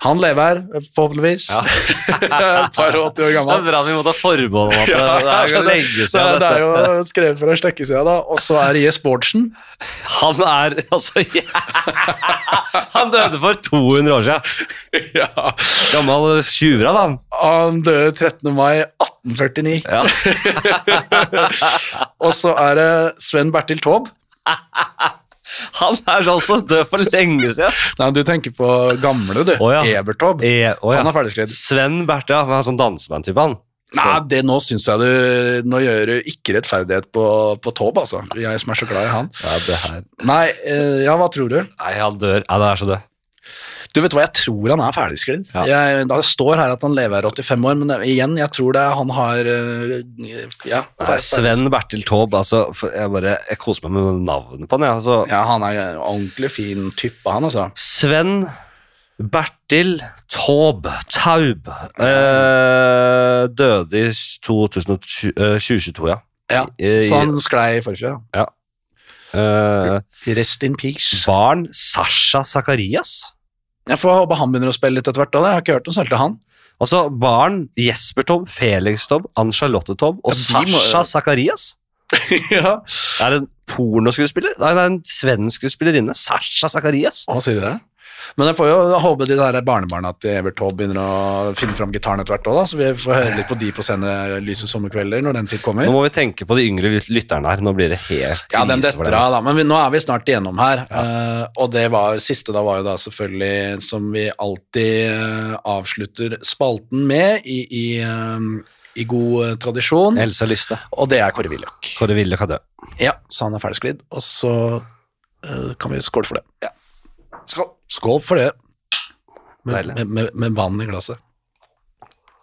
Han lever her, forhåpentligvis.
Ja.
*laughs* Et par og 80 år
Det er
gammel.
bra vi måtte ha forbehold om at *laughs* det, det er så lenge
*laughs* Det er-
siden
det er
dette.
jo skrevet for en stykke siden, da. Og så er det Jes Bårdsen.
Han er altså *laughs* ja. Han døde for 200 år siden.
*laughs* Ja.
Gammel tjuvra, da. han.
Han døde 13. mai 1849.
Ja.
Og så er det Sven Bertil Taube.
Han er også død for lenge siden.
Nei, du tenker på gamle, du.
Å, ja.
Ebert Taube.
Eh, å, ja.
Han er ferdigskrevet.
Sven Berthe, ja, han er sånn dansebandtype, han.
Nei, det nå syns jeg du Nå gjør du ikke rettferdighet på, på Taube, altså. Jeg som er så glad i han.
Ja, det her.
Nei, eh, ja, hva tror du?
Nei, han dør. Ja, det er så død.
Du vet hva, jeg tror han er ferdigsklidd.
Ja.
Jeg- Det står her at han lever 85 år, men det- igjen, jeg tror det er han har eh, Ja,
Nei, Sven Bertil Taube, altså, for jeg bare, jeg koser meg med navnet på han, jeg. Altså,
Ja, han er en ordentlig fin type, han, altså.
Sven Bertil Taube, Taub, eh, døde i 2020, eh, 2022, ja.
Ja.
Eh,
Så han sklei i forfjor. da.
eh,
Rest in peace.
barn, Sasha Zakarias.
Jeg får håpe han begynner å spille litt etter hvert. da. Jeg har ikke hørt noe særlig til han.
Altså, barn, Jesper Taube, Felix Taube, Ann-Charlotte Taube og
Ja, de må-
Sasha Zakarias.
*laughs* ja.
Er det en pornoskuespiller? Nei, det er en svensk skuespillerinne. Sasha Zakarias.
Hva sier du det? Men jeg får jo håpe de der barnebarna til Evert Taube begynner å finne fram gitaren etter hvert òg, så vi får høre litt på de på scenen Lyse sommerkvelder når den tid kommer.
Nå må vi tenke på de yngre lyt- lytterne her. Nå blir det helt
Ja, den
krise for
detter
dem.
av, da. Men vi, nå er vi snart igjennom her. Eh, og det var, siste da var jo da selvfølgelig, som vi alltid eh, avslutter spalten med, i, i, eh, i god eh, tradisjon,
Else Lyste.
og det er Kåre Willoch.
Kåre Willoch er død.
Ja, så han er ferdigsklidd, og så eh, kan vi skåle for det.
Skål.
Skål for det. Med,
Deilig.
med, med, med vann i glasset.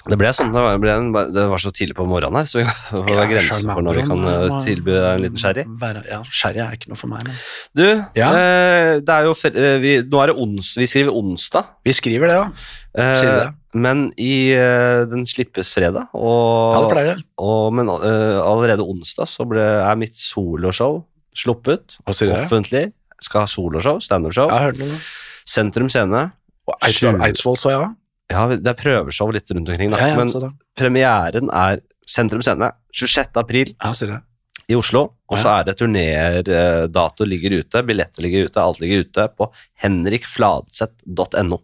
Det ble sånn, det var, det ble en, det var så tidlig på morgenen her, så det var grenser for når vi kan eh, tilby deg en liten sherry.
Være- Ja, sherry er ikke noe for meg, men
Du,
Ja.
eh, det er jo, fre- eh, vi, nå er det ons, vi skriver onsdag,
Vi skriver det, ja.
eh,
Sier du det?
men i, eh, den slippes fredag, og,
Ja, det pleier det.
og, men eh, allerede onsdag så ble, er mitt soloshow sluppet,
Hva sier du det?
offentlig, skal ha soloshow, stand-up-show,
Jeg har hørt noe.
Sentrum Scene,
Og Eidsvoll,
Sju.
Eidsvoll sa ja.
Ja, det er prøveshow litt rundt omkring, da.
Ja, ja,
men
så da.
premieren er Sentrum Scene 26. april
ja sier jeg.
i Oslo. Og så
Ja.
er det turnerdato ligger ute, billetter ligger ute, alt ligger ute på henrikfladseth.no.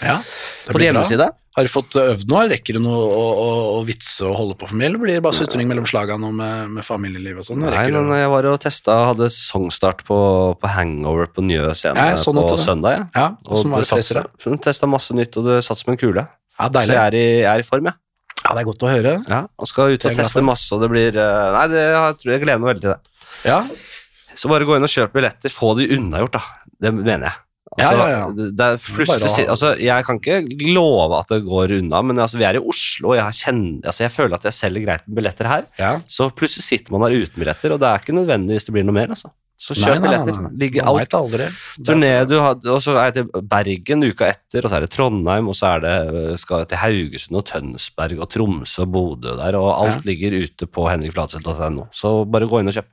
Ja, det
På
blir bra.
hjemmeside.
Har du fått eh, øvd nå? Rekker du noe å, å, å vitse og holde på for mye, eller blir det bare sutring mellom slagene og med, med familieliv og sånn?
Nei,
Rekker
men
du-
jeg var og testa, hadde sangstart på, på Hangover på Njø scene
Ja, jeg så noe
på
til det.
søndag. Ja.
Ja, og
eh, Og
som var det
testa,
stresser deg?
testa masse nytt, og det satt som en kule.
Ja,
Så
deilig.
jeg er i, jeg er i form, jeg.
Ja, det er godt å høre.
Ja. Og skal ut
Det er
og
jeg glad
teste
for.
masse, og det blir eh, Nei, det, jeg tror jeg gleder meg veldig til det.
Ja,
Så bare gå inn og kjøp billetter, få de unnagjort, da. Det mener jeg. Altså,
Ja, ja, ja.
Det det er
Bare
plutselig,
å ha-
altså, jeg kan ikke love at det går unna, men altså, vi er i Oslo, og jeg, kjenner, altså, jeg føler at jeg selger greit med billetter her.
ja.
Så plutselig sitter man der uten billetter, og det er ikke nødvendig hvis det blir noe mer. Altså. Så
Nei,
kjøp
nei, nei,
billetter.
nei.
Ligger
Man
alt
vet aldri.
turné du hadde, og så er jeg til Bergen uka etter, og så er det Trondheim, og så er det, øh, skal jeg til Haugesund og Tønsberg og Tromsø og Bodø der, og alt ligger ute på henrikfladseth.no. Så bare gå inn og kjøp.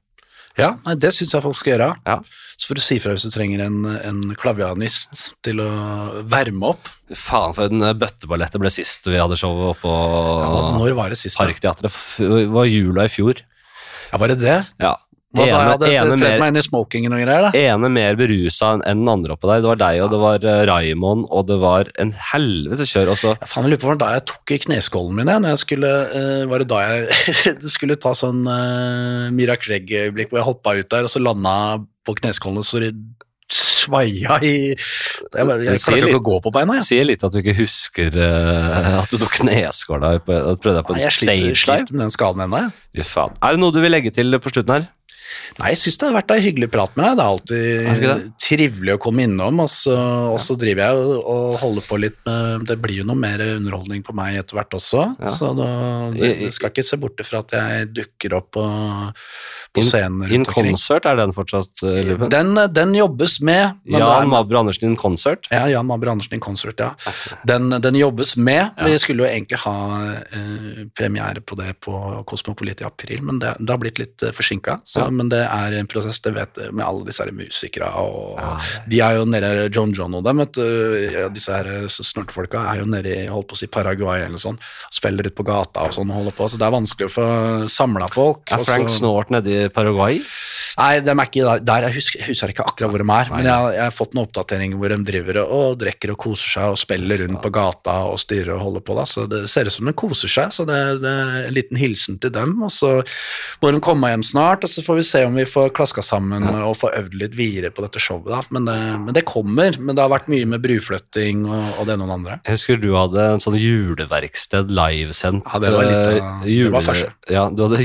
Ja, nei, det syns jeg folk skal gjøre.
Ja.
Så får du si fra hvis du trenger en, en klavianist til å varme opp.
Faen for en eh, bøtteballett det ble sist vi hadde showet oppå
Hva- Når var det sist? da?
Parkteatret. F- Det var jula i fjor.
Ja, var det det?
Ja.
Hva, da, jeg
Ene,
hadde
ene,
tredd
mer,
meg inn i smokingen og greier, da.
ene mer berusa enn den andre oppå der. Det var deg, og det var eh, Raymond, og det var en helvete kjør. Og så
Ja, faen, jeg lurer på hvordan da jeg tok i kneskålen min, jeg, når jeg skulle, eh, var det da jeg *laughs* skulle ta sånn uh, Mira Craig-øyeblikk hvor jeg hoppa ut der, og så landa på kneskålen, og så svaia i Jeg, bare-
Det
jeg
sier
klarte
litt.
ikke å gå på beina, jeg.
sier litt at du ikke husker eh, at du tok kneskåla på, og prøvde deg på
Nei,
en
jeg sliter,
stage
sliter
live.
med den skaden ennå. jeg.
Fy faen. Er det noe du vil legge til på slutten her?
Nei, jeg syns det har vært ei hyggelig prat med deg. Det er
Er det
alltid
ikke
trivelig å komme innom, og så, og så driver jeg og, og holder på litt med Det blir jo noe mer underholdning på meg etter hvert også,
Ja.
så da, det,
I- i-
du skal ikke se bort ifra at jeg dukker opp på,
In-
på scenen
In
rundt omkring.
Concert, er den fortsatt eh, i løpet?
Den, den jobbes med. men det er-
Jan Mabro Andersen In Concert?
ja, Jan Mabber Andersen i konsert, ja. Den, den jobbes med.
Ja.
Vi skulle jo egentlig ha eh, premiere på det på Kosmopolit i april, men det, det har blitt litt eh, forsinka. så-
Ja.
Men det er en prosess, det vet jeg, med alle disse her musikere og
Ja.
De er jo nede John John og dem, vet du. Ja, disse her eh, snortefolka er jo nede i holdt på å si Paraguay eller sånn, og spiller ut på gata og sånn og holder på. Så det er vanskelig å få samla folk.
Er
og
Frank
så-
Snort nede i Paraguay?
Nei, de er ikke der. der jeg husker, husker ikke akkurat hvor de er,
Nei.
men jeg, jeg har fått en oppdatering hvor de driver og, og drikker og koser seg og spiller rundt på gata og styrer og holder på. Da. Så det ser ut som de koser seg, så det, det er en liten hilsen til dem. Og så må de komme hjem snart, og så får vi se om vi får klaska sammen og får øvd litt videre på dette showet. Da. Men, det, men det kommer. Men det har vært mye med bruflytting og, og det ene og det andre.
Jeg husker du hadde en sånn juleverksted livesendt.
Ja, det var litt av-
eh, jule-
det var første.
Ja, du hadde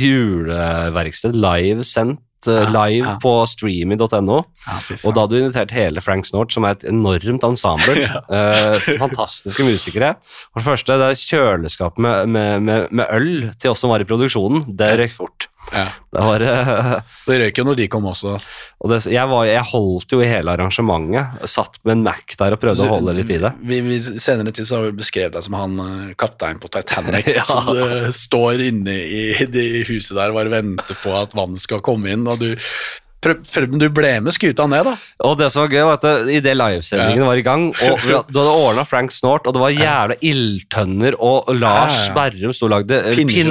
juleverksted livesendt eh,
Ja,
live
ja.
på streamy.no.
Ja, fy
Og
faen.
da hadde du invitert hele Frank Snort, som er et enormt
*laughs*
ensemble. eh, fantastiske musikere. For det første, det er kjøleskapet med, med, med, med øl til oss som var i produksjonen. Det røyk fort.
Ja.
Det var, eh, *laughs*
Det røyk jo når de kom også.
og det, jeg, var, jeg holdt jo i hele arrangementet. Satt med en Mac der og prøvde å holde litt i det.
Vi, vi, senere tid så har vi beskrevet deg som han eh, kapteinen på Titanic
*laughs* Ja.
som eh, står inne i det huset der og bare venter på at vannet skal komme inn, og du prøv, prøv, men du ble med skuta ned, da.
Og det som var gøy, var at det- i det livesendingen var i gang, og vi had- du hadde ordna Frank Snort, og det var jævla ildtønner, og Lars
Ja,
Berrum sto og lagde eh,
Pinnekjøtt.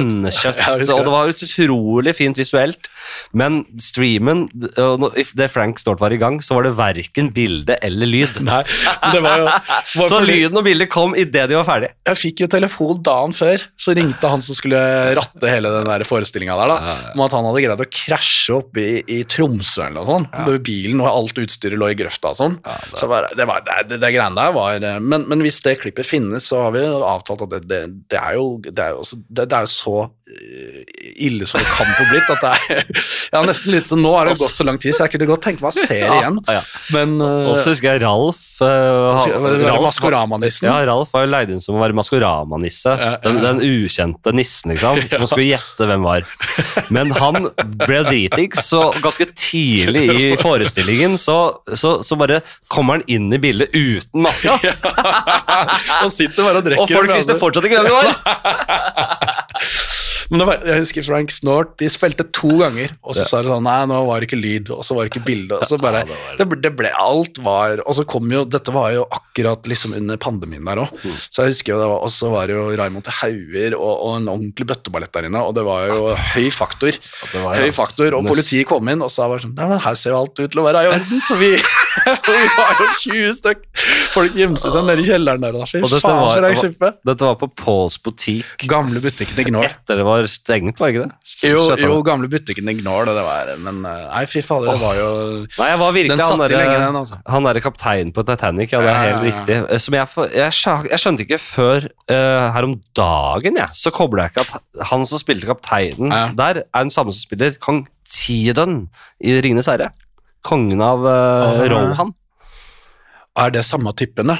*laughs*
pinnekjøtt,
Ja, jeg husker
og det var utrolig fint visuelt. Men streamen, d- og når- if det Frank Snort var i gang, så var det verken bilde eller lyd.
Nei, men det var jo var
Så
fordi-
lyden og bildet kom idet de var ferdige.
Jeg fikk jo telefon dagen før, så ringte han som skulle ratte hele den der forestillinga der, da, om at han hadde greid å krasje opp i, i Tromsø eller noe sånt. hvor Bilen og alt utstyret lå i grøfta og sånn. Så bare, det, var, det, det, det greiene der var eh, men, men hvis det klippet finnes, så har vi jo avtalt at det, det, det er jo det er jo, så- det, det er jo så eh, ille som det kan få blitt, at det er *laughs* Ja, nesten litt som nå har det gått så lang tid, så jeg kunne godt tenke meg å se det igjen.
Ja, ja.
Men eh,
Og så husker jeg Ralf eh,
husker jeg- det var
Ralf-
Maskorama-nissen.
Ja, Ralf var jo leid inn som å være Maskorama-nisse.
ja, ja.
Den, den ukjente nissen, liksom,
*laughs*
som man skulle gjette hvem var. Men han ble dritings, så ganske tidlig i
*laughs*
forestillingen så, så, så bare kommer han inn i bildet uten maska.
Han sitter bare *laughs* og drikker.
Og folk
med *laughs*
visste
andre.
fortsatt ikke hvem det var!
Men det var, jeg husker Frank Snort, de spilte to ganger, og så sa de sånn Nei, nå var det ikke lyd, og så var det ikke bilde, og så bare
Ja, det var det.
det ble, det ble Alt var Og så kom jo Dette var jo akkurat liksom under pandemien der òg,
Mm.
så jeg husker jo det var Og så var det jo Raymond til Hauger og, og en ordentlig bøtteballett der inne, og det var jo høy faktor.
det var jo
høy faktor, og
nest-
politiet kom inn og sa bare sånn Nei, men her ser jo alt ut til å være i orden, så vi *laughs* Vi var jo 20 stykk. Folk gjemte seg nede i kjelleren der, da. Fy
Og
faen,
dette var-
for ei suppe.
Dette var på Pauls butikk.
Gamle butikken i Gnål.
Dere var stengt, var det ikke det?
Jo,
Skjøtta.
jo, gamle butikken i Gnål, det var Men eh, nei, fy fader, det var jo
Nei, jeg var virkelig
Den
han
satt i
derre-
lenge, den, altså.
Han derre kapteinen på Titanic, ja, det er
Ja,
helt
ja, ja.
riktig. Eh, Som jeg, for- jeg, skja- jeg skjønte ikke før eh, her om dagen, jeg, så kobla jeg ikke at han som spilte kapteinen
Ja.
der, er den samme som spiller kong Tidon i Ringenes herre. Kongen av uh,
Åh.
Rohan.
Er det samme typen, da?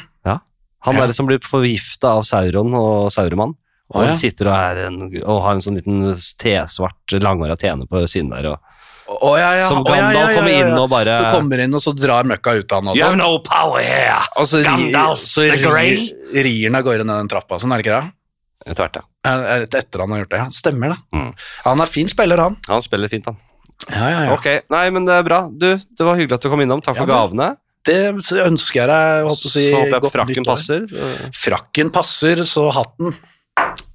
Han
Ja.
derre som blir forgifta av Sauron og Sauroman. Og
Å, ja.
han sitter og, er en, og har en sånn liten tesvart, langhåra tene på siden der. Og,
Å, ja, ja.
Som
Å, ja, ja,
Gandalf
ja,
kommer
ja, ja.
inn og bare-
Så kommer inn, og så drar møkka ut av han.
You
Også.
have no power here!
og så ri-
Gandalf
så
the Grey.
rir- rir han av gårde ned den trappa, sånn er det ikke det?
Tvert, ja.
Eh, Etter han har gjort det. Ja, stemmer det.
Mm.
Han er fin spiller, han.
Han spiller fint, han.
Ja, ja, ja.
Ok, nei, men det er bra. Du, det var hyggelig at du kom innom. Takk for
Ja,
gavene.
Det så ønsker jeg deg. jeg Holdt på å si,
så håper jeg
godt
frakken
nyttår.
passer.
Frakken passer, så hatten.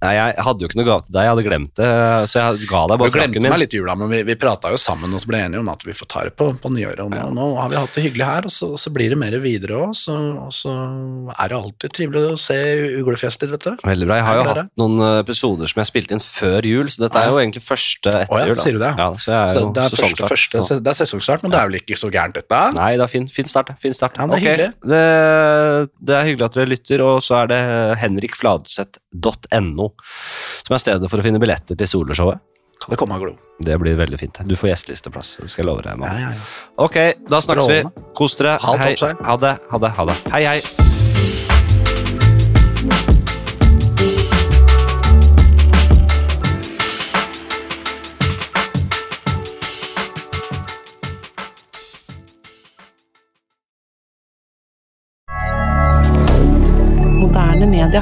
Nei, jeg hadde jo ikke noe gave til deg, jeg hadde glemt det. Så jeg ga
Du
deg bare
glemte
frakken
meg
min.
litt i jula, men vi, vi prata jo sammen og så ble enige om at vi får ta det på, på nyåret. Og nå, nå har vi hatt det hyggelig her, og så, så blir det mer videre òg. Så, og så er det alltid trivelig å se uglefjester, vet du.
Veldig bra. Jeg har
Nei,
jo
det er
hatt noen episoder som jeg spilte inn før jul, så dette er jo egentlig første etter
Å ja,
jul. da.
sier du det?
Ja, så jeg er
Så
jo
det er, første,
sesongstart.
første,
Ja.
det er sesongstart, men det er vel ikke så gærent, dette?
Nei, det er fin, fin start. Fin start.
Ja, det er
Ok,
hyggelig.
Det, det er hyggelig at dere lytter, og så er det henrikfladseth.no som er stedet for å finne billetter til soloshowet.
Kan det komme av glo?
Det blir veldig fint. Du får gjestelisteplass, det skal jeg love deg. Mamma.
Ja, ja, ja.
Ok, da snakkes vi. Kos dere.
Halvt
Hei.
oppseil.
Ha det, ha det, ha det. Hei, hei.
Moderne media.